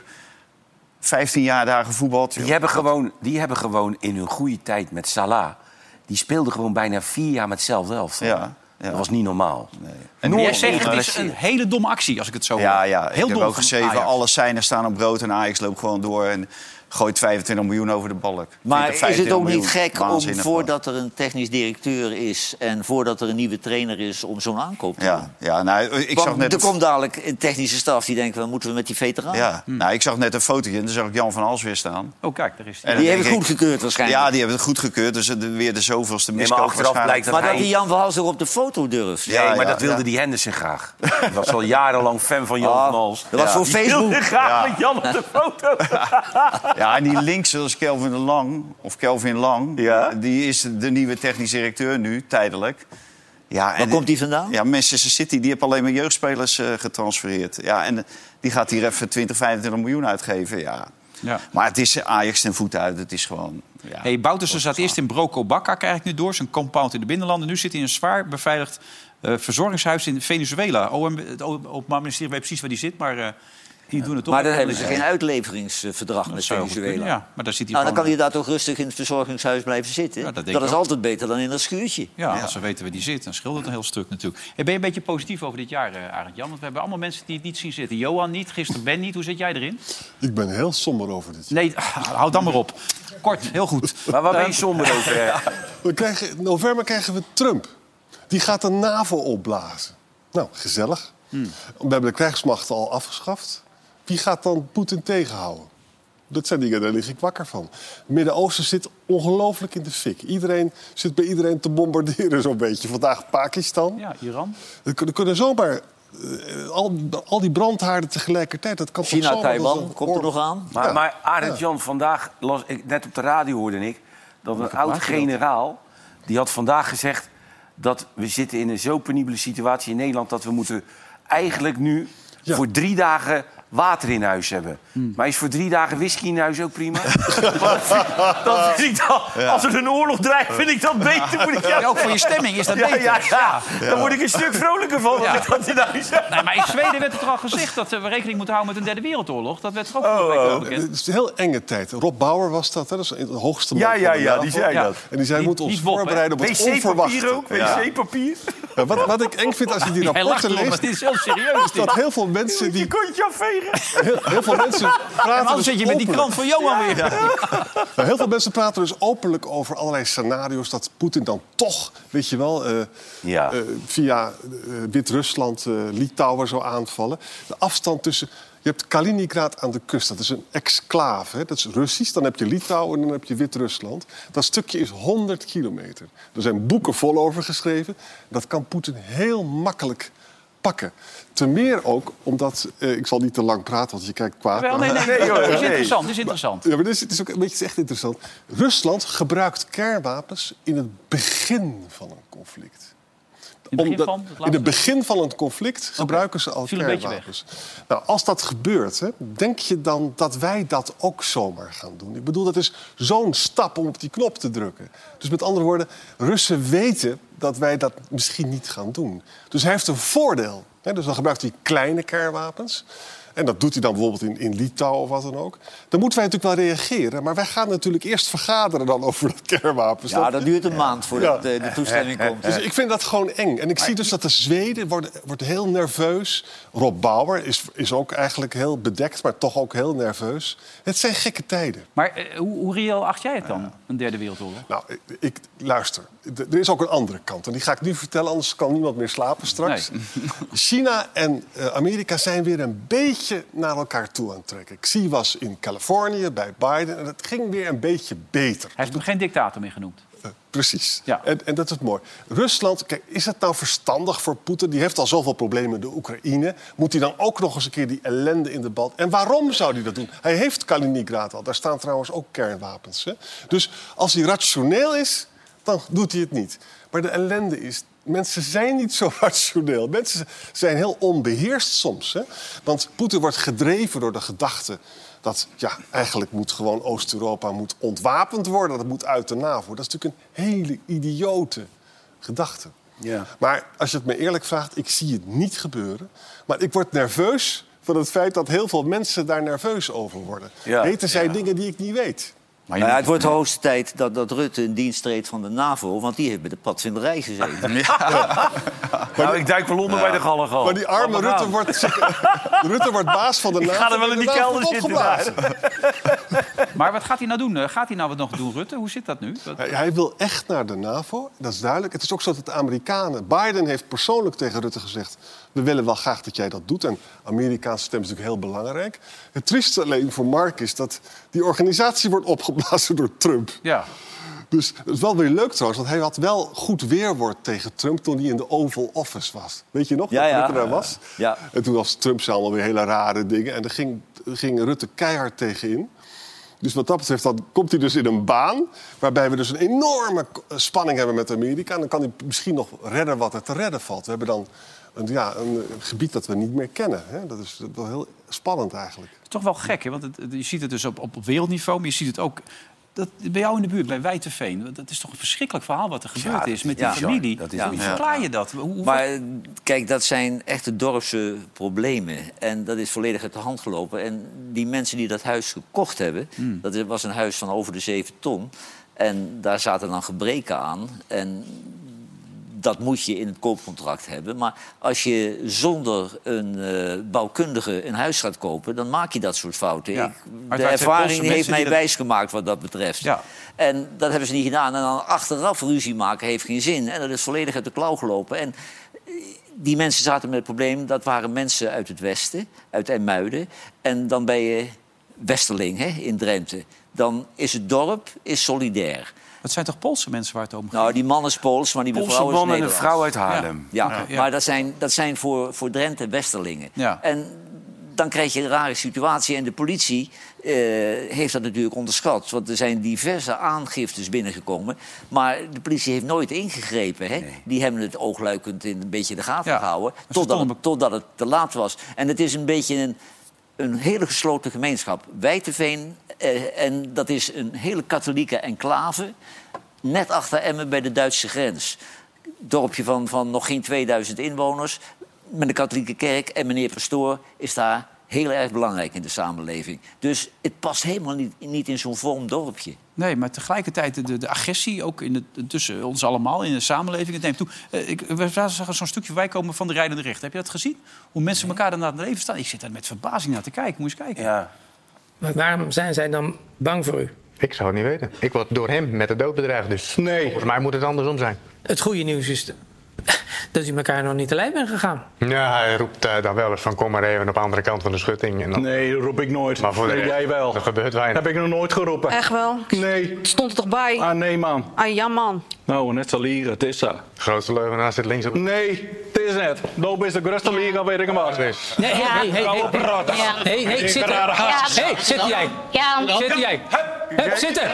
15 jaar daar gevoetbald.
Die hebben, gewoon, die hebben gewoon in hun goede tijd met Salah... die speelden gewoon bijna vier jaar met hetzelfde elftal.
Ja, ja.
Dat was niet normaal.
En
Jij
die-
zegt, het is een
geblesseerd.
hele domme actie, als ik het zo
Ja,
hoor.
ja.
Heel
ik
dom
heb ook
van
geschreven,
Ajax.
alle seinen staan op brood... en Ajax loopt gewoon door en gooit 25 miljoen over de balk.
Maar
20,
is het
25
ook niet
miljoen.
gek om
Waanzinnig
voordat er een technisch directeur is... en voordat er een nieuwe trainer is om zo'n aankoop te doen?
Ja, ja nou, ik
Want
zag net...
er
een-
komt dadelijk een technische staf die denkt... wat moeten we met die veteranen?
ja, nou, ik zag net een fotootje en toen zag ik Jan van Hals weer staan.
Oh, kijk, daar is hij.
En
Die
dan
hebben
denk
goed
ik-
gekeurd waarschijnlijk.
Ja, die hebben het goed gekeurd. Dus het- weer de zoveelste
maar
miskoop
achteraf blijkt
maar dat
hij-
die Jan van Hals er op de foto durft.
Ja,
nee, maar
ja,
dat wilde
ja.
die Henderson graag. Die was al jarenlang fan van Jan
Ah,
van Hals.
dat was voor
Die
Facebook.
wilde graag
Ja.
met Jan op de foto.
Ja, en die links, dat is Kelvin de Lang. Of Kelvin Lang.
Ja.
Die is de nieuwe technisch directeur nu, tijdelijk. Ja, en
Waar komt die vandaan?
Ja, Manchester City, die heeft alleen maar jeugdspelers eh, getransfereerd. Ja, en eh, die gaat hier even 20, 25 miljoen uitgeven, ja.
Ja.
Maar het is Ajax ten voet uit. Het is gewoon... Ja.
Hey, Boutersen zat eerst in Broco Bakka, krijg ik nu door. Zijn compound in de binnenlanden. Nu zit hij in een zwaar beveiligd eh, verzorgingshuis in Venezuela. OM, het O- Openbaar Ministerie weet precies waar die zit, maar eh, die doen het toch.
Maar dan
wel.
hebben ze geen uitleveringsverdrag
Dat
met
zou goed kunnen,
Venezuela.
Ja, maar daar zit hij
Nou, dan kan
gewoon-
hij daar toch rustig in het verzorgingshuis blijven zitten.
Ja, dat
dat
denk ik
is
ook.
altijd beter dan in een schuurtje.
Ja, als ze weten waar die zit, dan scheelt het een heel stuk natuurlijk. Hey, ben je een beetje positief over dit jaar, eh Arend Jan? Want we hebben allemaal mensen die het niet zien zitten. Johan niet, gisteren Ben niet. Hoe zit jij erin?
Ik ben heel somber over dit.
Nee, houd dan maar op. Kort, heel goed.
Maar waar ben je somber over? hè?
We krijgen, in november krijgen we Trump. Die gaat de NAVO opblazen. Nou, gezellig.
Hmm.
We hebben de krijgsmacht al afgeschaft. Wie gaat dan Poetin tegenhouden? Dat zijn dingen, daar lig ik wakker van. Het Midden-Oosten zit ongelooflijk in de fik. Iedereen zit bij iedereen te bombarderen zo'n beetje. Vandaag Pakistan.
Ja, Iran.
Er kun- er kunnen zomaar eh, al, al die brandhaarden tegelijkertijd. Dat kan toch
China,
zomaar dat
Taiwan,
een
komt er
oorlog-
nog aan?
Maar,
Ja.
maar Arend Jan, vandaag las ik net op de radio hoorde ik... dat een oud-generaal... die had vandaag gezegd dat we zitten in een zo penibele situatie in Nederland... dat we moeten eigenlijk nu voor drie dagen water in huis hebben.
Hmm.
Maar is voor drie dagen whisky in huis ook prima? dat vind ik dan, als er een oorlog dreigt, vind ik dat beter. Moet ik jou
Ja, ook voor je stemming is dat
Ja,
beter.
ja, ja. Daar word ik een stuk vrolijker van als
Ja.
ik dat in huis heb.
Nee, maar in Zweden werd het er al gezegd dat eh, we rekening moeten houden met een derde wereldoorlog. Dat werd er ook
Oh,
vorige week wel
oh.
bekend.
Het is een heel enge tijd. Rob Bauer was dat, hè? dat is de hoogste man
Ja,
van
ja,
de
ja,
NAVO.
die zei
Ja.
dat.
En die zei, we
Niet-
moeten ons
niet Bob, hè?
voorbereiden op het onverwachte.
Wc-papier ook,
Ja.
wc-papier.
Ja, wat, wat ik eng vind als je die
Hij lacht
rapporten
erom, maar
leest...
dit is heel serieus.
is
Dit.
dat heel veel mensen
Je
die...
kontje afvegen.
Heel, heel veel mensen
En
praten
dan
dus
zit je met die krant
openlijk.
van Johan weer.
Nou, heel veel mensen praten dus openlijk over allerlei scenario's... dat Poetin dan toch, weet je wel, eh,
Ja.
eh, via eh, Wit-Rusland, eh, Litouwen zou aanvallen. De afstand tussen... Je hebt Kaliningrad aan de kust, dat is een exclave. Hè? Dat is Russisch, dan heb je Litouwen en dan heb je Wit-Rusland. Dat stukje is 100 kilometer. Er zijn boeken vol over geschreven. Dat kan Poetin heel makkelijk pakken. Ten meer ook omdat... eh, ik zal niet te lang praten, want je kijkt kwaad.
Wel,
maar-
nee, nee,
Nee, joh,
Dit is
nee.
interessant, dit is interessant.
ja, maar dit is, het is ook een beetje het is echt interessant. Rusland gebruikt kernwapens in het begin van een conflict.
In het begin
Omdat-
van het
in
laatste-
het begin van een conflict gebruiken ze al
Viel een beetje
kernwapens. Nou, als dat gebeurt, hè, denk je dan dat wij dat ook zomaar gaan doen? Ik bedoel, dat is zo'n stap om op die knop te drukken. Dus met andere woorden, Russen weten dat wij dat misschien niet gaan doen. Dus hij heeft een voordeel. Hè? Dus dan gebruikt hij kleine kernwapens. En dat doet hij dan bijvoorbeeld in, in Litouwen of wat dan ook. Dan moeten wij natuurlijk wel reageren. Maar wij gaan natuurlijk eerst vergaderen dan over dat kernwapens.
Ja,
Dat-
dat duurt een maand voordat eh, de toestemming komt.
dus ik vind dat gewoon eng. En ik zie dus dat de Zweden worden, wordt heel nerveus. Rob Bauer is, is ook eigenlijk heel bedekt, maar toch ook heel nerveus. Het zijn gekke tijden.
Maar eh, hoe, hoe reëel acht jij het dan, een derde wereldoorlog?
Nou, ik, ik- luister. D- Er is ook een andere kant. En die ga ik nu vertellen, anders kan niemand meer slapen straks. China en eh, Amerika zijn weer een beetje naar elkaar toe aan het trekken. Xi was in Californië bij Biden en het ging weer een beetje beter.
Hij heeft hem geen dictator meer genoemd.
Eh, Precies.
Ja.
En, en dat is mooi. Rusland, kijk, is het nou verstandig voor Poetin? Die heeft al zoveel problemen in de Oekraïne. Moet hij dan ook nog eens een keer die ellende in de band? En waarom zou hij dat doen? Hij heeft Kaliningrad al. Daar staan trouwens ook kernwapens. Hè? Dus als hij rationeel is, dan doet hij het niet. Maar de ellende is. Mensen zijn niet zo rationeel. Mensen zijn heel onbeheerst soms. Hè? Want Poetin wordt gedreven door de gedachte dat ja, eigenlijk moet gewoon Oost-Europa moet ontwapend worden. Dat moet uit de NAVO. Dat is natuurlijk een hele idiote gedachte.
Ja.
Maar als je het me eerlijk vraagt, ik zie het niet gebeuren. Maar ik word nerveus van het feit dat heel veel mensen daar nerveus over worden.
Ja,
Weten zij dingen die ik niet weet?
Maar
Nou ja, het wordt de hoogste tijd dat, dat Rutte in dienst treedt van de NAVO... want die heeft bij de padvinderij gezeten.
Nou, ik duik wel onder bij de
Maar
gallegal.
die arme Rutte wordt, Rutte wordt baas van de NAVO.
ga er wel in die
en daarna
kelder
wordt
zitten daar.
opgeblazen.
Maar wat gaat hij nou doen? Eh, Gaat hij nou wat nog doen, Rutte? Hoe zit dat nu? Wat-
Hij, hij wil echt naar de NAVO, dat is duidelijk. Het is ook zo dat de Amerikanen... Biden heeft persoonlijk tegen Rutte gezegd... we willen wel graag dat jij dat doet. En Amerikaanse stem is natuurlijk heel belangrijk. Het trieste alleen voor Mark is dat die organisatie wordt opgeblazen door Trump.
Ja.
Dus het is wel weer leuk trouwens, want hij had wel goed weerwoord tegen Trump toen hij in de Oval Office was. Weet je nog
Ja,
dat
ja.
Rutte daar was?
Ja.
En toen was Trump zei allemaal weer hele rare dingen. En daar ging, ging Rutte keihard tegenin. Dus wat dat betreft, dan komt hij dus in een baan waarbij we dus een enorme k- eh, spanning hebben met Amerika. En dan kan hij misschien nog redden wat er te redden valt. We hebben dan een, ja, een eh, gebied dat we niet meer kennen. Hè? Dat is wel heel spannend eigenlijk.
Het is toch wel gek, hè? Want het- het- je ziet het dus op, op, op wereldniveau, maar je ziet het ook dat, bij jou in de buurt, bij Wijterveen. Want Dat is toch een verschrikkelijk verhaal wat er gebeurd
dat
is met
ja.
die familie.
Dat is
Hoe
bizar.
verklaar je dat? Hoe, hoe-
Maar eh, kijk, dat zijn echte dorpse problemen. En dat is volledig uit de hand gelopen. En die mensen die dat huis gekocht hebben...
Hmm.
dat is- was een huis van over de zeven ton. En daar zaten dan gebreken aan. En dat moet je in het koopcontract hebben. Maar als je zonder een eh, bouwkundige een huis gaat kopen... dan maak je dat soort fouten.
Ja.
Ik-
Maar
de
het waren twee Poolse
ervaring
mensen
heeft
die
mij
dat-
wijsgemaakt wat dat betreft.
Ja.
En dat hebben ze niet gedaan. En dan achteraf ruzie maken heeft geen zin. En dat is volledig uit de klauw gelopen. En eh, die mensen zaten met het probleem, dat waren mensen uit het westen, uit IJmuiden. En dan ben je Westerling hè, in Drenthe. Dan is het dorp is solidair.
Het zijn toch Poolse mensen waar het om gaat?
Nou, die man is Pools, maar die
Poolse
mevrouw is
man en een
Nederlands.
vrouw uit Haarlem.
Ja,
Ja.
maar dat zijn, dat zijn voor, voor Drenthe Westerlingen.
Ja.
En dan krijg je een rare situatie. En de politie eh, heeft dat natuurlijk onderschat. Want er zijn diverse aangiftes binnengekomen. Maar de politie heeft nooit ingegrepen. Hè? Die hebben het oogluikend in een beetje in de gaten
Ja,
gehouden.
maar ze
Totdat,
stonden
het- totdat het te laat was. En het is een beetje een, een hele gesloten gemeenschap. Wijteveen, eh, en dat is een hele katholieke enclave. Net achter Emmen bij de Duitse grens. Dorpje van, van nog geen 2000 inwoners. Met de katholieke kerk. En meneer Pastoor is daar heel erg belangrijk in de samenleving. Dus het past helemaal niet, niet in zo'n vorm dorpje.
Nee, maar tegelijkertijd de, de agressie ook in de, tussen ons allemaal in de samenleving. Het neemt toe. Eh, ik, we zagen zo'n stukje voorbij komen van de rijdende rechter. Heb je dat gezien? Hoe mensen elkaar daarna aan het leven staan. Ik zit daar met verbazing naar te kijken. Moet je eens kijken.
Ja.
Maar waarom zijn zij dan bang voor u?
Ik zou het niet weten. Ik word door hem met de dood bedreigd. Dus volgens mij moet het andersom zijn.
Het goede nieuws is dat u elkaar nog niet te lijf bent gegaan.
Ja, hij roept eh, dan wel eens van kom maar even op de andere kant van de schutting. En dan...
Nee, dat roep ik nooit.
Maar voor de
nee,
rest,
jij wel.
Er gebeurt weinig.
Heb ik nog nooit geroepen.
Echt wel?
Nee.
Stond er toch bij?
Ah, nee, man.
Ah, ja, man.
Nou, net zo liegen, het is dat.
Grootste leugenaar zit links op.
Nee, het is net. Nou, is de grootste liga, weet ik hem al.
Nee, hé, hé, hé, hé.
Ja.
Hé, hé, zit er. Hé, zit jij. Zit jij. Hup, zitten.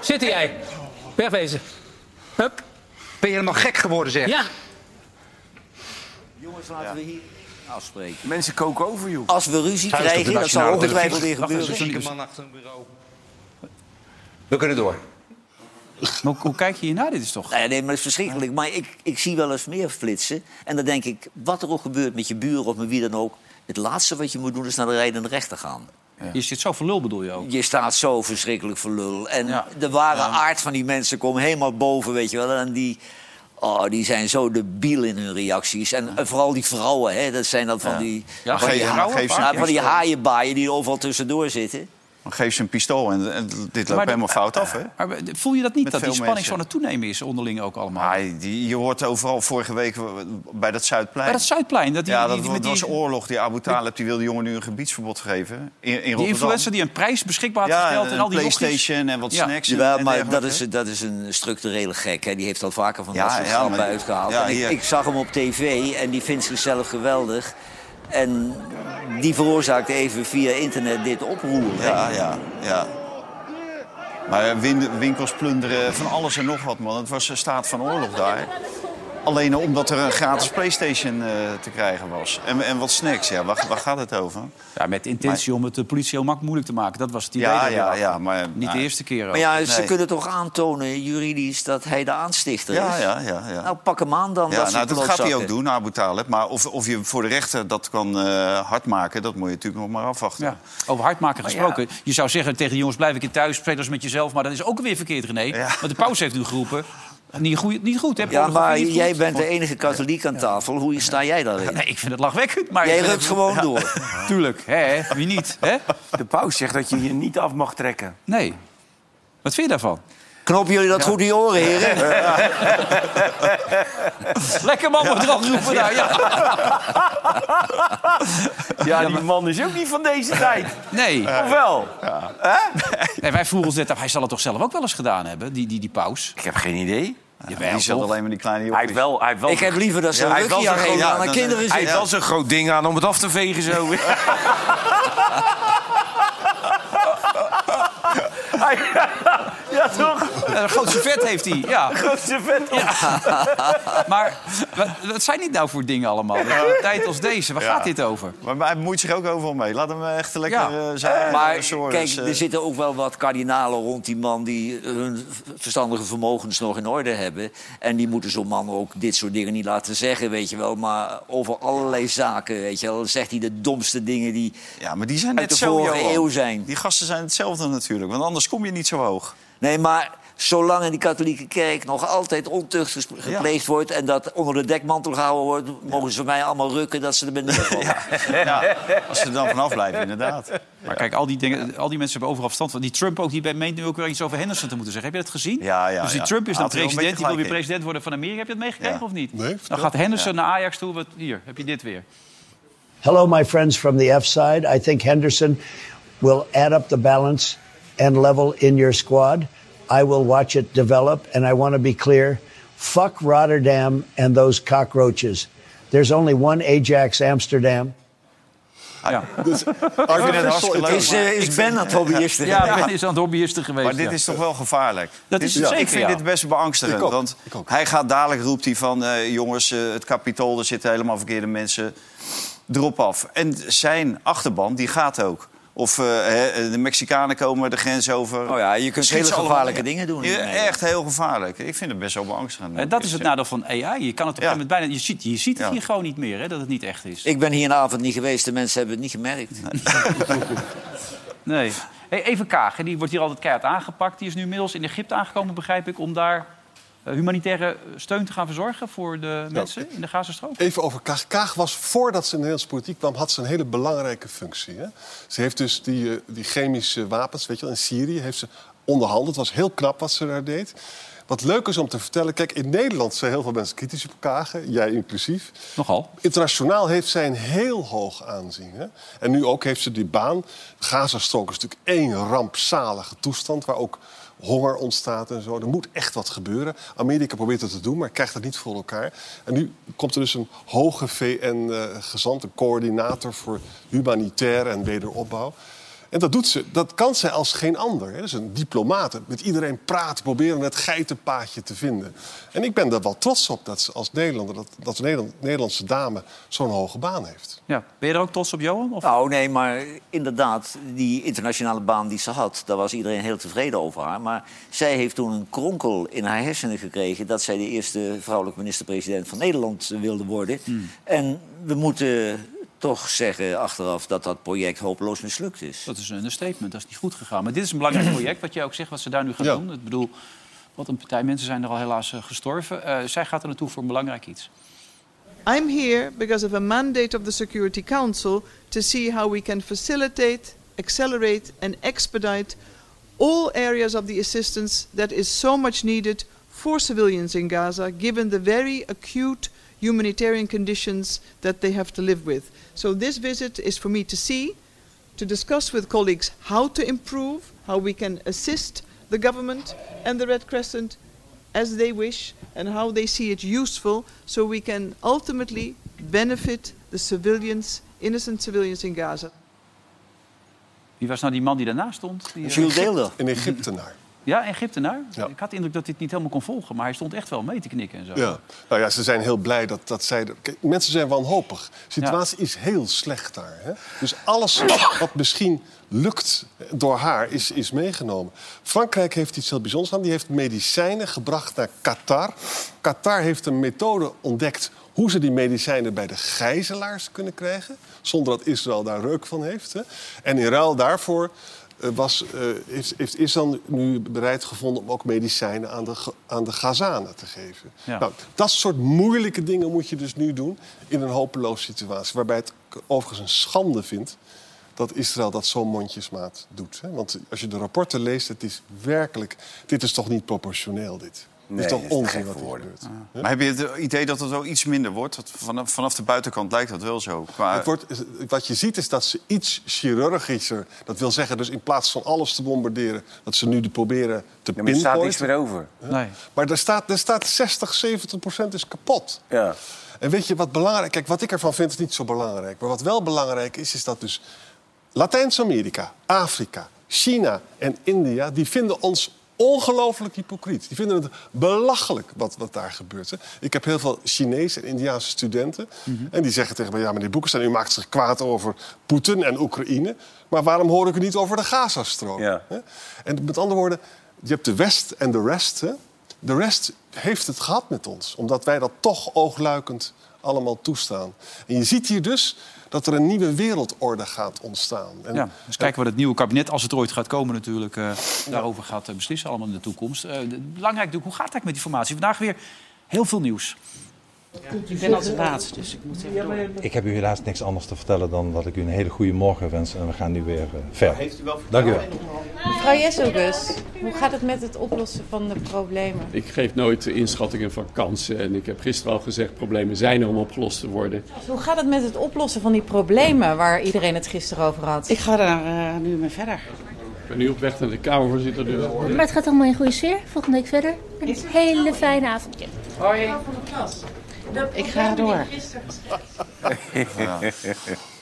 Zitten jij. Wegwezen. Hup.
Ben je helemaal gek geworden, zeg?
Ja.
Jongens, laten we hier afspreken.
Mensen koken over, joh.
Als we ruzie krijgen, dat zal ongetwijfeld weer gebeuren.
Dus-
man achter een bureau. We kunnen door.
Maar hoe, hoe kijk je hiernaar? Dit is toch...
Nee, nee, maar dat is verschrikkelijk. Maar ik, ik zie wel eens meer flitsen. En dan denk ik, wat er ook gebeurt met je buren of met wie dan ook... het laatste wat je moet doen is naar de rijdende rechter gaan.
Je zit zo voor lul, bedoel je ook?
Je staat zo verschrikkelijk voor lul. En de ware aard van die mensen komt helemaal boven, weet je wel. En die, oh, die zijn zo debiel in hun reacties. En eh, vooral die vrouwen, hè, dat zijn dan van die...
Ja,
van,
geef-
die,
vrouwen
ja,
vaak.
van die haaienbaaien die overal tussendoor zitten.
Dan geef ze een pistool en, en dit loopt
Maar de- eh,
helemaal fout af, hè?
Maar voel je dat niet,
Met
dat die spanning
veel mensen.
zo aan het toenemen is onderling ook allemaal?
Ah, die, je hoort overal vorige week eh, bij dat Zuidplein.
Bij dat Zuidplein, dat die-
ja,
die-
dat
die-
was-
met die-
was oorlog. Die Abu Talib die wil de jongen nu een gebiedsverbod geven in, in Rotterdam.
Die influencer die een prijs beschikbaar had
Ja,
gesteld...
een
en al die
PlayStation
jochies.
en wat
Ja.
snacks.
Ja,
en
maar dat
dergelijke.
is, dat is een structurele gek. Hè. Die heeft al vaker van
Ja,
dat soort
ja,
grappen
maar-
uitgehaald.
ja,
En ik,
hier.
ik zag hem op tv en die vindt zichzelf geweldig. En die veroorzaakt even via internet dit oproer. hè.
Ja, ja, ja. Maar eh, win- winkels plunderen, van alles en nog wat, man. Het was een staat van oorlog daar. Alleen omdat er een gratis Playstation eh, te krijgen was. En, en wat snacks, ja. Waar, waar gaat het over?
Ja, met de intentie om het de politie heel mak moeilijk te maken. Dat was het idee.
Ja,
daar
ja,
weer.
ja, maar...
Niet de eerste keer ook.
Maar ja, ze kunnen toch aantonen juridisch dat hij de aanstichter
Ja,
is?
ja, ja, ja.
Nou, pak hem aan dan.
Ja,
dat soort
nou, dat gaat hij
klootzakken.
ook doen, Abu Talib. Maar of, of je voor de rechter dat kan eh, hard maken, dat moet je natuurlijk nog maar afwachten.
Ja. Over
Oh,
hardmaken gesproken. Je zou zeggen tegen de jongens, blijf ik in thuis, speel eens met jezelf. Maar dat is ook weer verkeerd, René. Want de paus heeft nu geroepen. Niet goed, niet goed hè?
Ja,
pornografie
maar
niet goed.
jij bent de enige katholiek aan tafel. Hoe sta jij daarin?
Nee, ik vind het lachwekkend. Maar
Jij rukt gewoon
Ja,
door.
Tuurlijk, hè? Wie niet, hè?
De paus zegt dat je je niet af mag trekken.
Nee. Wat vind je daarvan?
Knopen jullie dat goed in je oren, heren?
Lekker man, wordt er al geroepen daar. Ja.
Ja, die man is ook niet van deze tijd.
Nee.
Of wel?
En wij vroegen ons net af, hij zal het toch zelf ook wel eens gedaan hebben, die, die, die paus?
Ik heb geen idee.
Jawel,
Die zat
toch?
alleen maar die kleine
Hij
jongens.
heeft wel... Hij heeft wel
Ik heb liever dat ze een
hij heeft
rukje
wel zijn
aan
groot-
aan
ja,
de
dat-
kinderen
Hij heeft
zitten.
wel zo'n groot ding aan om het af te vegen zo. ja, toch?
Ja, een groot servet heeft hij, ja.
Grootste vet op.
Maar wat, wat zijn dit nou voor dingen allemaal? Een tijd als deze, waar gaat dit over?
Maar hij moeit zich ook overal mee. Laat hem eh, echt lekker
Ja.
eh, zijn.
Maar
eh, Soros,
kijk,
eh.
er zitten ook wel wat kardinalen rond die man... die hun verstandige vermogens nog in orde hebben. En die moeten zo'n man ook dit soort dingen niet laten zeggen, weet je wel. Maar over allerlei zaken, weet je wel. Zegt hij de domste dingen die...
Ja, maar die zijn
uit
net
de
zo,
vorige
Johan.
eeuw zijn.
Die gasten zijn hetzelfde natuurlijk, want anders kom je niet zo hoog.
Nee, maar zolang in die katholieke kerk nog altijd ontucht ges- gepleegd wordt... en dat onder de dekmantel gehouden wordt... mogen ze van mij allemaal rukken dat ze er beneden vallen.
Ja, als ze er dan vanaf blijven, inderdaad.
Maar kijk, al die, dingen, al die mensen hebben overal verstand van. Die Trump ook, die bij- meent nu ook weer iets over Henderson te moeten zeggen. Heb je dat gezien?
Ja, ja,
dus die
ja.
Trump is dan
Had hij wel een
president,
beetje
die wil weer
gelijk in.
president worden van Amerika. Heb je dat meegekregen
Ja.
of niet?
Nee, vertel.
dan gaat Henderson naar Ajax toe. Wat, hier, heb je dit weer.
Hello, my friends from the F side. I think Henderson will add up the balance and level in your squad. I will watch it develop, and I want to be clear fuck Rotterdam and those cockroaches. There's only one Ajax Amsterdam.
Ja.
vind het hartstikke leuk,
Is, eh,
maar
is
ik
Ben
vind-
aan het hobbyisten?
Ja, Ben is aan het hobbyisten geweest.
Maar dit
ja.
is toch wel gevaarlijk?
Dat
Dit-
is het zeker,
Ik vind
ja.
dit best beangstigend.
Ik ook,
Want hij gaat dadelijk, roept hij van... eh, jongens, eh, het kapitool, er zitten helemaal verkeerde mensen. Drop af. En zijn achterban, die gaat ook. Of eh, hè, de Mexicanen komen de grens over.
Oh ja, je kunt
Schiet ze
hele
allemaal
gevaarlijke
in.
dingen doen.
Ja,
Nee.
echt heel gevaarlijk. Ik vind het best wel beangstigend.
En Eh, dat is het nadeel van AI. Je kan het op een gegeven moment bijna... Je ziet, je ziet het
Ja.
hier gewoon niet meer, hè, dat het niet echt is.
Ik ben hier een avond niet geweest, de mensen hebben het niet gemerkt.
Nee. Hey, even Kaag, hè, die wordt hier altijd keihard aangepakt. Die is nu inmiddels in Egypte aangekomen, begrijp ik, om daar eh, humanitaire steun te gaan verzorgen voor de mensen in de Gazastrook.
Even over Kaag. Kaag was, voordat ze in de Nederlandse politiek kwam... had ze een hele belangrijke functie. Hè? Ze heeft dus die, eh, die chemische wapens weet je wel, in Syrië heeft ze onderhandeld. Het was heel knap wat ze daar deed. Wat leuk is om te vertellen... Kijk, in Nederland zijn heel veel mensen kritisch op Kaag. hè, Jij inclusief.
Nogal.
Internationaal heeft zij een heel hoog aanzien. Hè? En nu ook heeft ze die baan. Gazastrook is natuurlijk één rampzalige toestand... waar ook honger ontstaat en zo. Er moet echt wat gebeuren. Amerika probeert het te doen, maar krijgt het niet voor elkaar. En nu komt er dus een hoge VN-gezant... een coördinator voor humanitair en wederopbouw. En dat doet ze. Dat kan zij als geen ander. Hè. Dat is een diplomaat. Met iedereen praten, proberen het geitenpaadje te vinden. En ik ben daar wel trots op dat ze als Nederlander, dat, dat de Nederland- Nederlandse dame zo'n hoge baan heeft.
Ja. Ben je er ook trots op, Johan? Of?
Nou, nee, maar inderdaad, die internationale baan die ze had... daar was iedereen heel tevreden over haar. Maar zij heeft toen een kronkel in haar hersenen gekregen... dat zij de eerste vrouwelijke minister-president van Nederland eh, wilde worden.
Hmm.
En we moeten toch zeggen achteraf dat dat project hopeloos mislukt is.
Dat is een understatement, dat is niet goed gegaan. Maar dit is een belangrijk project, wat jij ook zegt, wat ze daar nu gaan doen. Ik bedoel, wat een partij mensen zijn er al helaas eh, gestorven. Eh, zij gaat er naartoe voor een belangrijk iets.
I'm here because of a mandate of the Security Council to see how we can facilitate, accelerate, and expedite all areas of the assistance that is so much needed for civilians in Gaza, given the very acute humanitarian conditions that they have to live with. So, this visit is for me to see, to discuss with colleagues how to improve, how we can assist the government and the Red Crescent as they wish and how they see it useful so we can ultimately benefit the civilians, innocent civilians in Gaza.
Wie was nou die man die daarnaast stond? Die, eh,
Een Egyptenaar.
Ja, Egyptenaar. Ik had de indruk dat dit niet helemaal kon volgen, maar hij stond echt wel mee te knikken en zo.
Ja. Nou ja, ze zijn heel blij dat, dat zij... er- Kijk, mensen zijn wanhopig. De situatie is heel slecht daar. Hè? Dus alles wat misschien lukt door haar is, is meegenomen. Frankrijk heeft iets heel bijzonders aan. Die heeft medicijnen gebracht naar Qatar. Qatar heeft een methode ontdekt hoe ze die medicijnen bij de gijzelaars kunnen krijgen... zonder dat Israël daar reuk van heeft. Hè? En in ruil daarvoor eh, was, eh, heeft, heeft Israël nu bereid gevonden... om ook medicijnen aan de, ge- aan de Gazanen te geven.
Ja.
Nou, dat soort moeilijke dingen moet je dus nu doen in een hopeloze situatie. Waarbij het k- overigens een schande vindt dat Israël dat zo mondjesmaat doet. Hè? Want als je de rapporten leest, het is werkelijk... Dit is toch niet proportioneel, dit?
Nee,
het is
dat
toch
is
onzin
gek
wat
voor
hier
woorden.
gebeurt? Hè?
Maar heb je het idee dat het wel iets minder wordt? Dat vanaf, vanaf de buitenkant lijkt dat wel zo. Qua...
Het wordt, wat je ziet is dat ze iets chirurgischer... dat wil zeggen, dus in plaats van alles te bombarderen... dat ze nu de proberen te
Ja, maar er
pinpointen.
staat niks meer over.
Nee.
Maar daar staat, daar staat 60, 70 procent is kapot.
Ja.
En weet je wat belangrijk... Kijk, wat ik ervan vind is niet zo belangrijk. Maar wat wel belangrijk is, is dat dus Latijns-Amerika, Afrika, China en India... die vinden ons ongelooflijk hypocriet. Die vinden het belachelijk wat, wat daar gebeurt. hè. Ik heb heel veel Chinese en Indiaanse studenten... en die zeggen tegen mij, ja, meneer Boekestein... u maakt zich kwaad over Poetin en Oekraïne... maar waarom hoor ik u niet over de Gazastrook? hè? En met andere woorden, je hebt de West en de rest... Hè? De rest heeft het gehad met ons, omdat wij dat toch oogluikend allemaal toestaan. En je ziet hier dus dat er een nieuwe wereldorde gaat ontstaan. En
Ja, dus kijken wat het nieuwe kabinet, als het er ooit gaat komen natuurlijk... eh, daarover gaat eh, beslissen, allemaal in de toekomst. Eh, de- belangrijk, natuurlijk, hoe gaat het eigenlijk met die formatie? Vandaag weer heel veel nieuws.
Ik ben als laatste, dus ik moet even door.
Ik heb u helaas niks anders te vertellen dan dat ik u een hele goede morgen wens. En we gaan nu weer eh, verder.
Heeft u wel
Dank u wel.
Mevrouw Jesselgus, hoe gaat het met het oplossen van de problemen?
Ik geef nooit inschattingen van kansen. En ik heb gisteren al gezegd, problemen zijn er om opgelost te worden.
Hoe gaat het met het oplossen van die problemen waar iedereen het gisteren over had? Ik ga daar nu mee verder.
Ik ben nu op weg naar de Kamervoorzitter. Dus...
Maar het gaat allemaal in goede sfeer. Volgende week verder. Een hele fijne avondje.
Hoi. Ik ga door.
Ja.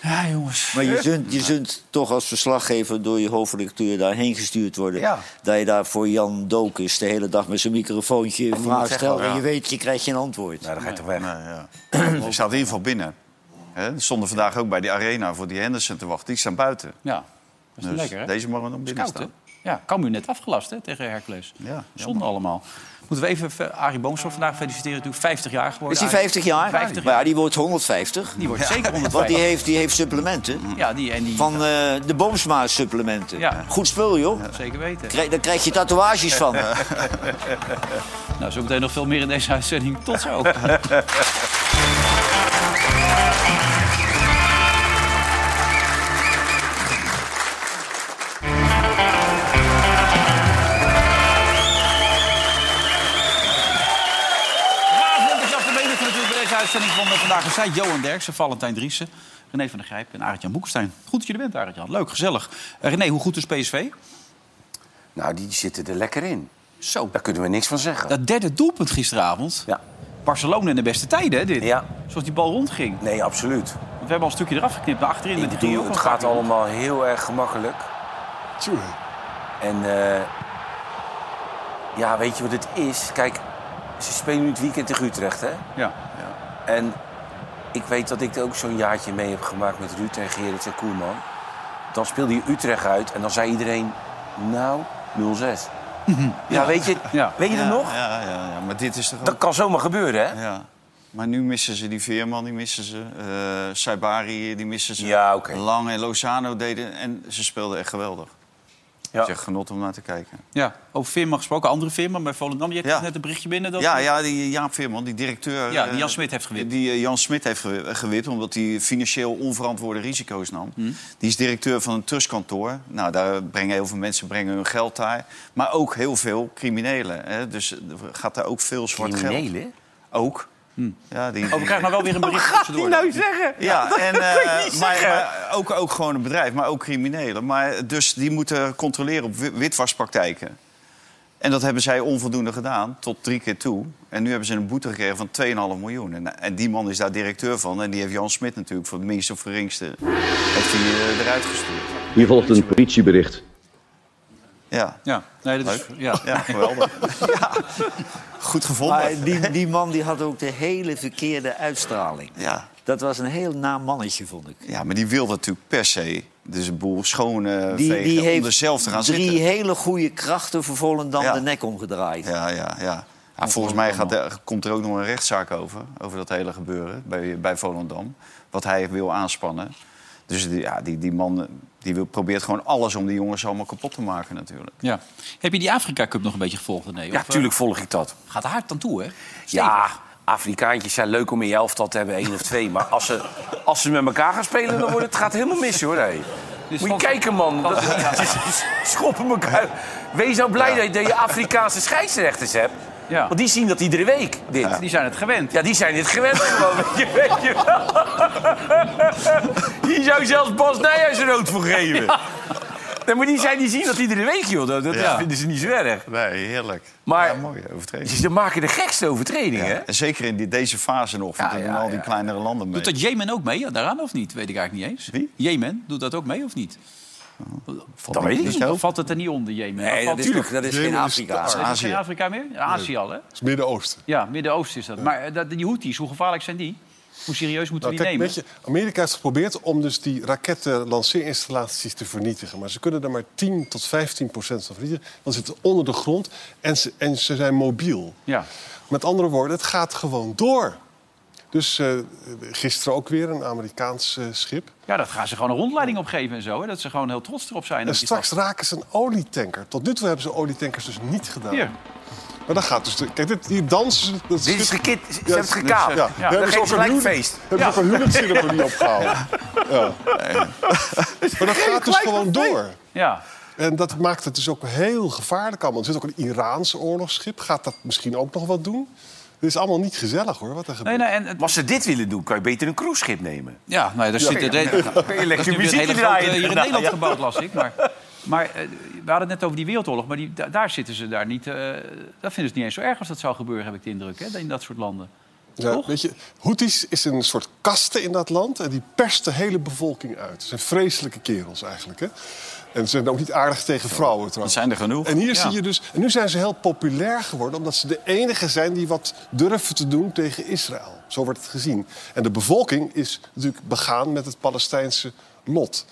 Ja, jongens.
Maar je zult, je zult toch als verslaggever door je hoofdredacteur daarheen gestuurd worden.
Ja.
Dat je daar voor Jan Dokus de hele dag met zijn microfoontje
moet
vragen
zeggen,
stelt.
ja.
En je weet, je krijgt geen antwoord.
Nou, dan ga je toch weg. ja. Ik sta in ieder geval binnen. Hè, Er stonden vandaag ook bij die arena voor die Henderson te wachten. Die staan buiten.
Ja, dat is
Dus
lekker, hè?
deze mogen dan
Het is
binnen
koud, hè?
staan.
Ja, kan nu net afgelast hè, tegen Hercules. Ja, Zonde allemaal. Moeten we even eh, Arie Boomstorff vandaag feliciteren. Natuurlijk 50 jaar geworden.
Is die
Arie.
50 jaar?
50
Maar ja, die wordt 150.
Die wordt zeker 150.
Want die heeft, die heeft supplementen.
Ja, die en die...
Van eh, de Boomsma supplementen.
Ja.
Goed spul, joh.
Zeker weten.
Krijg- daar krijg je tatoeages van.
nou, zo meteen nog veel meer in deze uitzending. Tot zo. Vanavond is Jasper Beener natuurlijk bij deze uitzending van Vandaag is Zij. Johan Derksen, Valentijn Driessen, René van der Grijp en Arend-Jan Boekestein. Goed dat je er bent, Arend-Jan. Leuk, gezellig. Eh, René, hoe goed is PSV?
Nou, die zitten er lekker in.
Zo.
Daar kunnen we niks van zeggen.
Dat derde doelpunt gisteravond.
Ja.
Barcelona in de beste tijden, hè, dit?
Ja.
Zoals die bal rondging.
Nee, absoluut. Want
we hebben al een stukje eraf geknipt, naar achterin.
Ik
met die
bedoel,
driehoek
het
van
gaat
Fabio.
allemaal heel erg gemakkelijk. En eh, ja, weet je wat het is? Kijk, ze spelen nu het weekend tegen Utrecht, hè?
Ja.
En ik weet dat ik er ook zo'n jaartje mee heb gemaakt met Ruud en Gerrit en Koerman. Dan speelde je Utrecht uit en dan zei iedereen, nou, 0-6. Ja, weet je, weet je dat
Mhm. Ja,
nog?
Ja, ja, ja, maar dit is toch
Dat kan zomaar gebeuren, hè?
Ja. Maar nu missen ze die Veerman, die missen ze. eh Saibari, die missen ze.
Ja, oké.
Lang en Lozano deden... En ze speelden echt geweldig. Het is echt genot om naar te kijken.
Ja, over Veerman gesproken. Andere Veerman bij Volendam. Je hebt net een berichtje binnen. Dat
Ja, ja, die Jaap Veerman, die directeur...
Ja, die
eh,
Jan Smit heeft gewit.
Die eh, Jan Smit heeft gewi- eh, gewit, omdat hij financieel onverantwoorde risico's nam.
Hm.
Die is directeur van een trustkantoor. Nou, daar brengen heel veel mensen brengen hun geld daar. Maar ook heel veel criminelen. Hè? Dus er gaat daar ook veel zwart geld.
Criminelen?
Ook. Ja, die,
Oh, we krijgen nou wel weer een bericht tussendoor.
zeggen?
Ja, en, eh, maar,
zeggen.
maar ook, ook gewoon een bedrijf, maar ook criminelen. Maar, dus die moeten controleren op wi- witwaspraktijken. En dat hebben zij onvoldoende gedaan, tot drie keer toe. En nu hebben ze een boete gekregen van 2,5 miljoen. En, en die man is daar directeur van. En die heeft Jan Smit natuurlijk voor het minste of geringste... heeft hij eh, eruit gestuurd.
Hier volgt een politiebericht.
Ja.
Ja, nee, dat is... Ja.
ja, geweldig. Goed gevonden.
Maar die, die man die had ook de hele verkeerde uitstraling.
Ja.
Dat was een heel naam mannetje, vond ik.
Ja, maar die wil dat natuurlijk per se. Dus een boel schoon eh,
Die,
vegen
die
om er
heeft
zelf te gaan
drie
zitten.
hele goede krachten voor Volendam de nek omgedraaid.
Ja, ja, ja. Ja, volgens mij gaat, er- komt er ook nog een rechtszaak over. Over dat hele gebeuren bij, bij Volendam. Wat hij wil aanspannen. Dus die, ja, die, die man eh, die wil, probeert gewoon alles om die jongens allemaal kapot te maken natuurlijk.
Ja. Heb je die Afrika Cup nog een beetje gevolgd? Nee,
Ja, tuurlijk
volg ik dat.
Gaat hard aan toe, hè?
Ja, Afrikaantjes zijn leuk om in je elftal te hebben, één of twee. Maar als ze, als ze met elkaar gaan spelen, dan wordt het, gaat het helemaal mis, hoor.
Dus
hé. Moet je kijken, man. Dat, schoppen elkaar. Wees nou blij dat je- dat je Afrikaanse scheidsrechters hebt.
Ja.
Want die zien dat iedere week, dit.
Die zijn het gewend.
Ja, die zijn dit gewend gewoon, weet je, weet je wel. Hier zou zelfs Bas Nijhuis er rood voor geven. Nee, maar die, zijn, die zien dat iedere week, joh. Dat, dat
Ja.
vinden ze niet zo erg.
Nee, heerlijk.
Maar
Mooie overtreding.
ze maken de gekste overtredingen, hè?
Ja, en zeker in die, deze fase nog, want er doen al die kleinere landen mee.
Doet dat Jemen ook mee ja, daaraan of niet? Weet ik eigenlijk niet eens. Wie? Jemen, doet dat ook mee of niet?
dat weet ik niet.
Of Valt het er niet onder, Jemen? valt
Nee, dat is
tuurlijk.
toch- dat is Jemen geen is Afrika.
Is
toch
dat
Azië.
geen Afrika meer? Azië al, hè?
Het is Midden-Oosten.
Ja, Midden-Oosten is dat. Maar eh, dat, die Houthis, hoe gevaarlijk zijn die? Hoe serieus moeten
Nou,
we die
kijk,
nemen?
weet je, Amerika heeft geprobeerd om dus die rakettenlanceerinstallaties te vernietigen. Maar ze kunnen er maar 10 tot 15 procent van vernietigen. Want ze zitten onder de grond en ze, en ze zijn mobiel.
Ja.
Met andere woorden, het gaat gewoon door. Dus eh, gisteren ook weer een Amerikaans eh, schip.
Ja, dat gaan ze gewoon een rondleiding opgeven en zo. Hè? Dat ze gewoon heel trots erop zijn.
En
dat die
straks
gasten-
raken ze een olietanker. Tot nu toe hebben ze olietankers dus niet gedaan.
Hier.
Maar dat gaat dus... de- Kijk, dit, hier dansen ze... dat
Dit is
schip-
gekit, ze hebben het
dit is-
gekaapt.
Ja.
Ja.
Dan
Dan
hebben ze
geven
ook
ze
een
gelijk
huwelijk-
feest.
Hebben ze
Ja.
ook een huwelijksceremonie opgehouden. Ja. Maar dat gaat dus gewoon door.
Ja.
En dat maakt het dus ook heel gevaarlijk allemaal. Er zit ook een Iraans oorlogsschip. Gaat dat misschien ook nog wat doen? Het is allemaal niet gezellig hoor, wat er gebeurt.
Maar als ze dit willen doen, kan je beter een cruiseschip nemen.
Ja, nou, ja, daar
Ja.
zit...
Ja.
er-
Ja.
dat
Kun je
is nu
lekker
weer een
muziekje
hele grote,
draaien.
Hier in
Nou,
Nederland
ja.
gebouwd, las ik. Maar, maar eh, we hadden het net over die wereldoorlog. Maar die, da- daar zitten ze daar niet... eh, dat vinden ze niet eens zo erg als dat zou gebeuren, heb ik de indruk. Hè? In dat soort landen.
Ja, weet je, Houthis is een soort kaste in dat land en die perst de hele bevolking uit. Het zijn vreselijke kerels eigenlijk. Hè? En ze zijn ook niet aardig tegen vrouwen trouwens.
Dat zijn er genoeg.
En hier
Ja.
zie je dus. En nu zijn ze heel populair geworden omdat ze de enige zijn die wat durven te doen tegen Israël. Zo wordt het gezien. En de bevolking is natuurlijk begaan met het Palestijnse lot.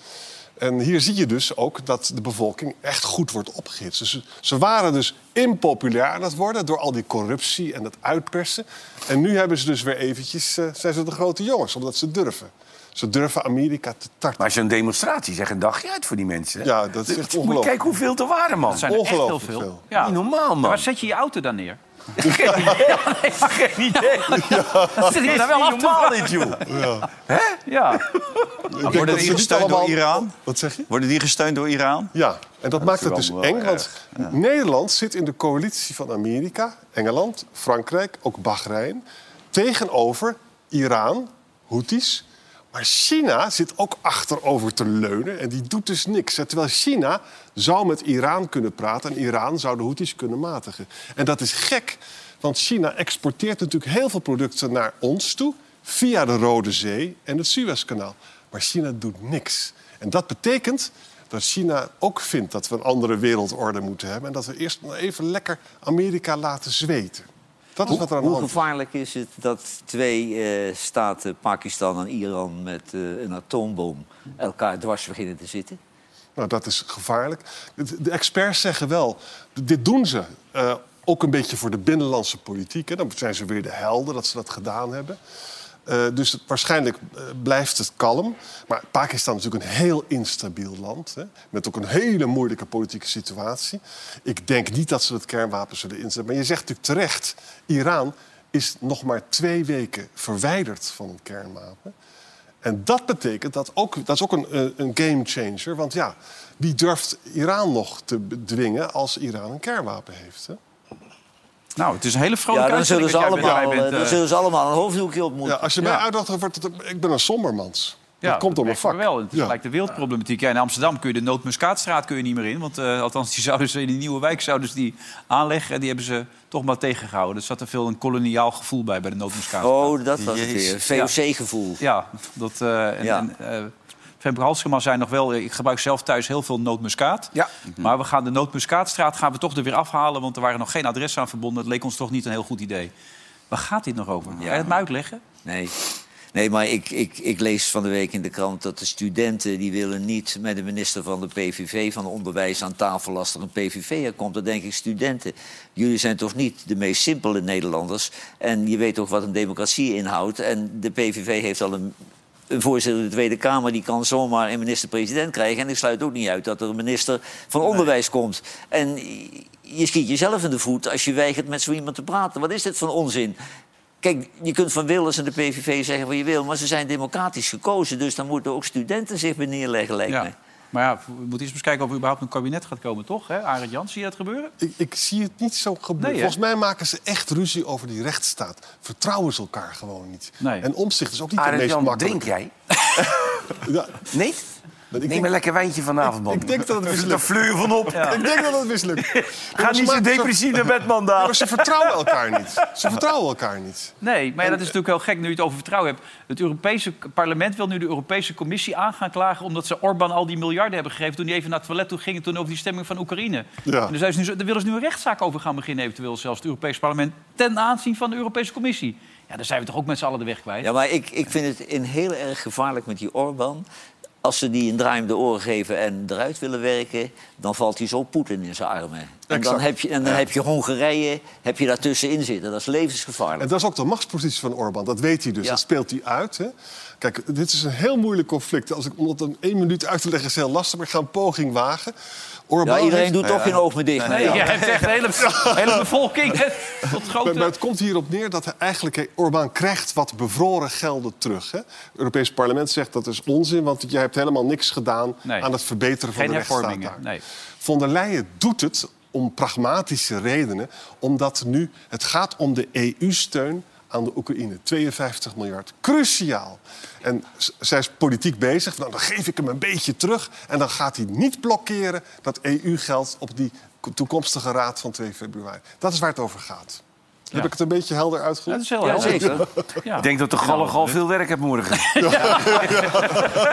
En hier zie je dus ook dat de bevolking echt goed wordt opgehitst. Dus ze- ze waren dus impopulair aan het worden door al die corruptie en dat uitpersen. En nu hebben ze dus weer eventjes, eh, zijn ze de grote jongens, omdat ze durven. Ze durven Amerika te tarten.
Maar zo'n demonstratie zeg een dagje uit voor die mensen. hè?
Ja, dat is echt
Moet je
ongelooflijk.
kijken hoeveel er waren, man.
Dat zijn er echt heel veel. Ja.
Niet normaal, man.
Maar waar zet je je auto dan neer?
Geen idee.
Dat
Dit is
daar wel
niet
af te
normaal,
vragen.
dit, joh.
Ja.
Ja.
denk dat
Worden die
ze niet
gesteund door
allemaal-
Iran?
Wat zeg je?
Worden die gesteund door Iran?
Ja, en dat, maakt het
wel
dus
wel
eng. Want
erg,
Nederland zit in de coalitie van Amerika, Engeland, Frankrijk, ook Bahrein... tegenover Iran, Houthis. Maar China zit ook achterover te leunen en die doet dus niks. hè. Terwijl China zou met Iran kunnen praten... en Iran zou de Houthis kunnen matigen. En dat is gek, want China exporteert natuurlijk heel veel producten naar ons toe... via de Rode Zee en het Suezkanaal. Maar China doet niks. En dat betekent dat China ook vindt dat we een andere wereldorde moeten hebben... en dat we eerst nog even lekker Amerika laten zweten. Dat is wat er aan de
Hoe
hand is.
gevaarlijk is het dat twee eh, staten, Pakistan en Iran... met eh, een atoombom elkaar dwars beginnen te zitten?
Nou, dat is gevaarlijk. De de experts zeggen wel, d- dit doen ze eh, ook een beetje voor de binnenlandse politiek. Hè. Dan zijn ze weer de helden dat ze dat gedaan hebben. Eh, dus het- waarschijnlijk eh, blijft het kalm. Maar Pakistan is natuurlijk een heel instabiel land. Hè, met ook een hele moeilijke politieke situatie. Ik denk niet dat ze het kernwapen zullen inzetten. Maar je zegt natuurlijk terecht, Iran is nog maar twee weken verwijderd van een kernwapen. En dat betekent dat ook, dat is ook een, eh, een game changer. Want ja, wie durft Iran nog te bedwingen als Iran een kernwapen heeft? Hè?
Nou, het is een hele
ja,
vrolijke
dan zullen, ze
uitzending wat jij
allemaal,
bent. Jij
eh,
bent,
dan
eh,
zullen ze allemaal een hoofddoekje op moeten.
Ja, als je mij uitnodigt, wordt het, ik ben een sombermans.
Ja,
dat komt door mijn
merken
vak.
we wel. Het is gelijk de wereldproblematiek. Ja, in Amsterdam kun je de Noordmuskaatstraat kun je niet meer in. Want eh, althans, die zouden ze in die nieuwe wijk zouden ze die aanleggen. En die hebben ze toch maar tegengehouden. Er zat er veel een koloniaal gevoel bij, bij de Noordmuskaatstraat.
Oh, dat was het weer.
Jezus.
VOC-gevoel.
Ja, dat... eh en,
Ja.
en, eh, Femke Halsema zei nog wel, eh, ik gebruik zelf thuis heel veel nootmuskaat. Ja.
Mhm.
Maar we gaan de nootmuskaatstraat gaan we toch er weer afhalen... want er waren nog geen adressen aan verbonden. Het leek ons toch niet een heel goed idee. Waar gaat dit nog over? Kan je het me uitleggen?
Nee. Nee, maar ik, ik, ik lees van de week in de krant dat de studenten... die willen niet met de minister van de PVV van Onderwijs aan tafel... als er een PVV'er komt, dan denk ik... studenten, jullie zijn toch niet de meest simpele Nederlanders... en je weet toch wat een democratie inhoudt... en de PVV heeft al een, een voorzitter van de Tweede Kamer... die kan zomaar een minister-president krijgen... en ik sluit ook niet uit dat er een minister van Onderwijs komt. En je schiet jezelf in de voet als je weigert met zo iemand te praten. Wat is dit voor onzin? Kijk, je kunt van Wilders en de PVV zeggen wat je wil... maar ze zijn democratisch gekozen, dus dan moeten ook studenten zich bij neerleggen, lijkt
Ja.
mij.
Maar ja, we moeten eerst eens kijken of er überhaupt een kabinet gaat komen, toch? Hè? Arend Jans, zie je dat gebeuren?
Ik, ik zie het niet zo gebeuren.
Nee, hè?
Volgens mij maken ze echt ruzie over die rechtsstaat. Vertrouwen ze elkaar gewoon niet.
Nee.
En omzicht is ook niet de
Arend
meest
Jan,
makkelijk.
drink jij?
Ja,
Nee?
ik
Neem
denk-
een lekker wijntje vanavond, man.
ik denk dat het
Er zit
mislukt.
een fleur van op.
Ik denk dat het mislukt.
Ga
Maar ze
niet zo
maken-
depressief naar bed, man. Daan.
Maar ze vertrouwen elkaar niet. Ze vertrouwen elkaar niet.
Nee, maar ja, dat is natuurlijk heel gek nu je het over vertrouwen hebt. Het Europese parlement wil nu de Europese Commissie aan gaan klagen... omdat ze Orbán al die miljarden hebben gegeven... toen hij even naar het toilet toe ging... en toen over die stemming van Oekraïne.
Ja.
En daar, zijn ze nu, zo- daar willen ze nu een rechtszaak over gaan beginnen... eventueel zelfs het Europese parlement... ten aanzien van de Europese Commissie. Ja, daar zijn we toch ook met z'n allen de weg kwijt?
Ja, maar ik, ik vind het in heel erg gevaarlijk met die Orbán. Als ze die een draai om de oren geven en eruit willen werken... dan valt hij zo Poetin in zijn armen. En dan,
Exact.
heb je, en dan heb je Hongarije heb je daartussenin zitten. Dat is levensgevaarlijk.
En dat is ook de machtspositie van Orbán. Dat weet hij dus. Dat speelt hij uit. Hè? Kijk, dit is een heel moeilijk conflict. Als ik, om dat in één minuut uit te leggen is heel lastig. Maar ik ga een poging wagen. Orbán
Ja, iedereen
heeft-
doet toch geen oog meer dicht.
Nee,
nee.
jij hebt echt de hele, hele bevolking hè, tot
Maar, maar
grote...
het komt hierop neer dat hij eigenlijk hè, Orbán krijgt wat bevroren gelden terug. Hè? Het Europees parlement zegt dat is onzin, want jij hebt helemaal niks gedaan
Nee.
aan het verbeteren van
Geen
de rechtsstaat.
hervormingen,
daar.
nee.
Von der Leyen doet het om pragmatische redenen, omdat nu het gaat om de EU-steun aan de Oekraïne. 52 miljard. Cruciaal. En z- zij is politiek bezig. Nou, dan geef ik hem een beetje terug. En dan gaat hij niet blokkeren E dat EU-geld op die k- toekomstige raad van 2 februari. Dat is waar het over gaat. Heb ik het een beetje helder uitgelegd?
Dat is heel helder.
Ik denk dat de Gallig al veel werk heeft morgen.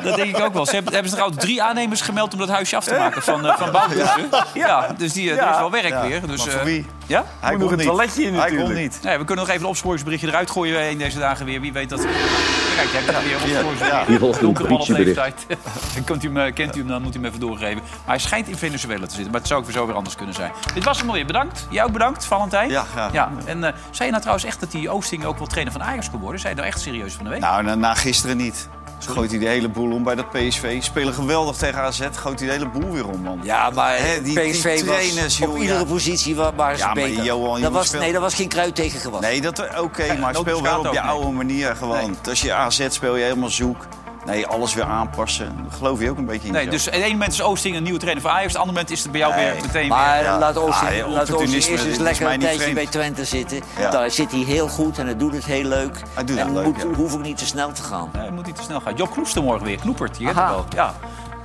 Dat denk ik ook wel. Ze hebben, hebben ze trouwens drie aannemers gemeld om dat huisje af te maken van, eh, van baanbussen. Ja. dus die, eh, er is wel werk
Ja.
weer. Dus,
Maar voor
eh,
wie?
Ja?
Hij Moet nog kon een niet. toiletje in Hij natuurlijk. kon
niet. Nee, we kunnen nog even een opsporingsberichtje eruit gooien in deze dagen weer. Wie weet dat... Kijk, jij bent weer
Ja.
opsporingsbericht.
Hier volgt een
Donkere man op
politiebericht.
leeftijd. Dan kunt u hem, eh, kent u hem, dan moet u hem even doorgeven. Maar hij schijnt in Venezuela te zitten. Maar het zou ook weer zo weer anders kunnen zijn. Dit was hem alweer. Bedankt. Jij ook bedankt, Valentijn. Ja, ja. En eh, zei je nou trouwens echt dat die Oosting ook wel trainer van Ajax kon worden? Zei je nou echt serieus van de week?
Nou, na, na gisteren niet. Gooit hij de hele boel om bij dat PSV. Spelen geweldig tegen AZ. Gooit hij de hele boel weer om, man.
Ja,
eh,
maar
Hè, die- die
PSV
trainers,
was op
joh,
iedere
ja.
positie wa- waren ze
Ja, maar
beter.
Johan, je
dat
moet
was,
spelen.
nee, daar was geen kruid tegen gewassen.
Nee, dat eh, oké, maar
nood
speel wel
bestaat
op je
ook niet.
oude manier gewoon. Als je AZ speel je helemaal zoek. Nee, alles weer aanpassen. Daar geloof je ook een beetje in.
Nee,
zo.
dus aan het ene moment is Oosting een nieuwe trainer van Ajax. Op het andere moment is het bij jou
Nee.
weer meteen
Maar
weer...
laat Oosting,
Ah, ja,
laat Oosting
opportunisme,
eerst
dit
eens
is
lekker
mij
een
niet
tijdje
vreemd.
bij Twente zitten.
Ja.
Daar zit hij heel goed en hij doet het heel leuk.
doet
en
het leuk,
moet,
ja.
hoef ik niet te snel te gaan.
Nee, moet niet te snel gaan. Job Knoester morgen weer. Knoepert, je hebt hem
Aha.
wel. Ja.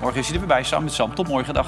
Morgen is hij er weer bij, samen met Sam. Tot morgen, dag.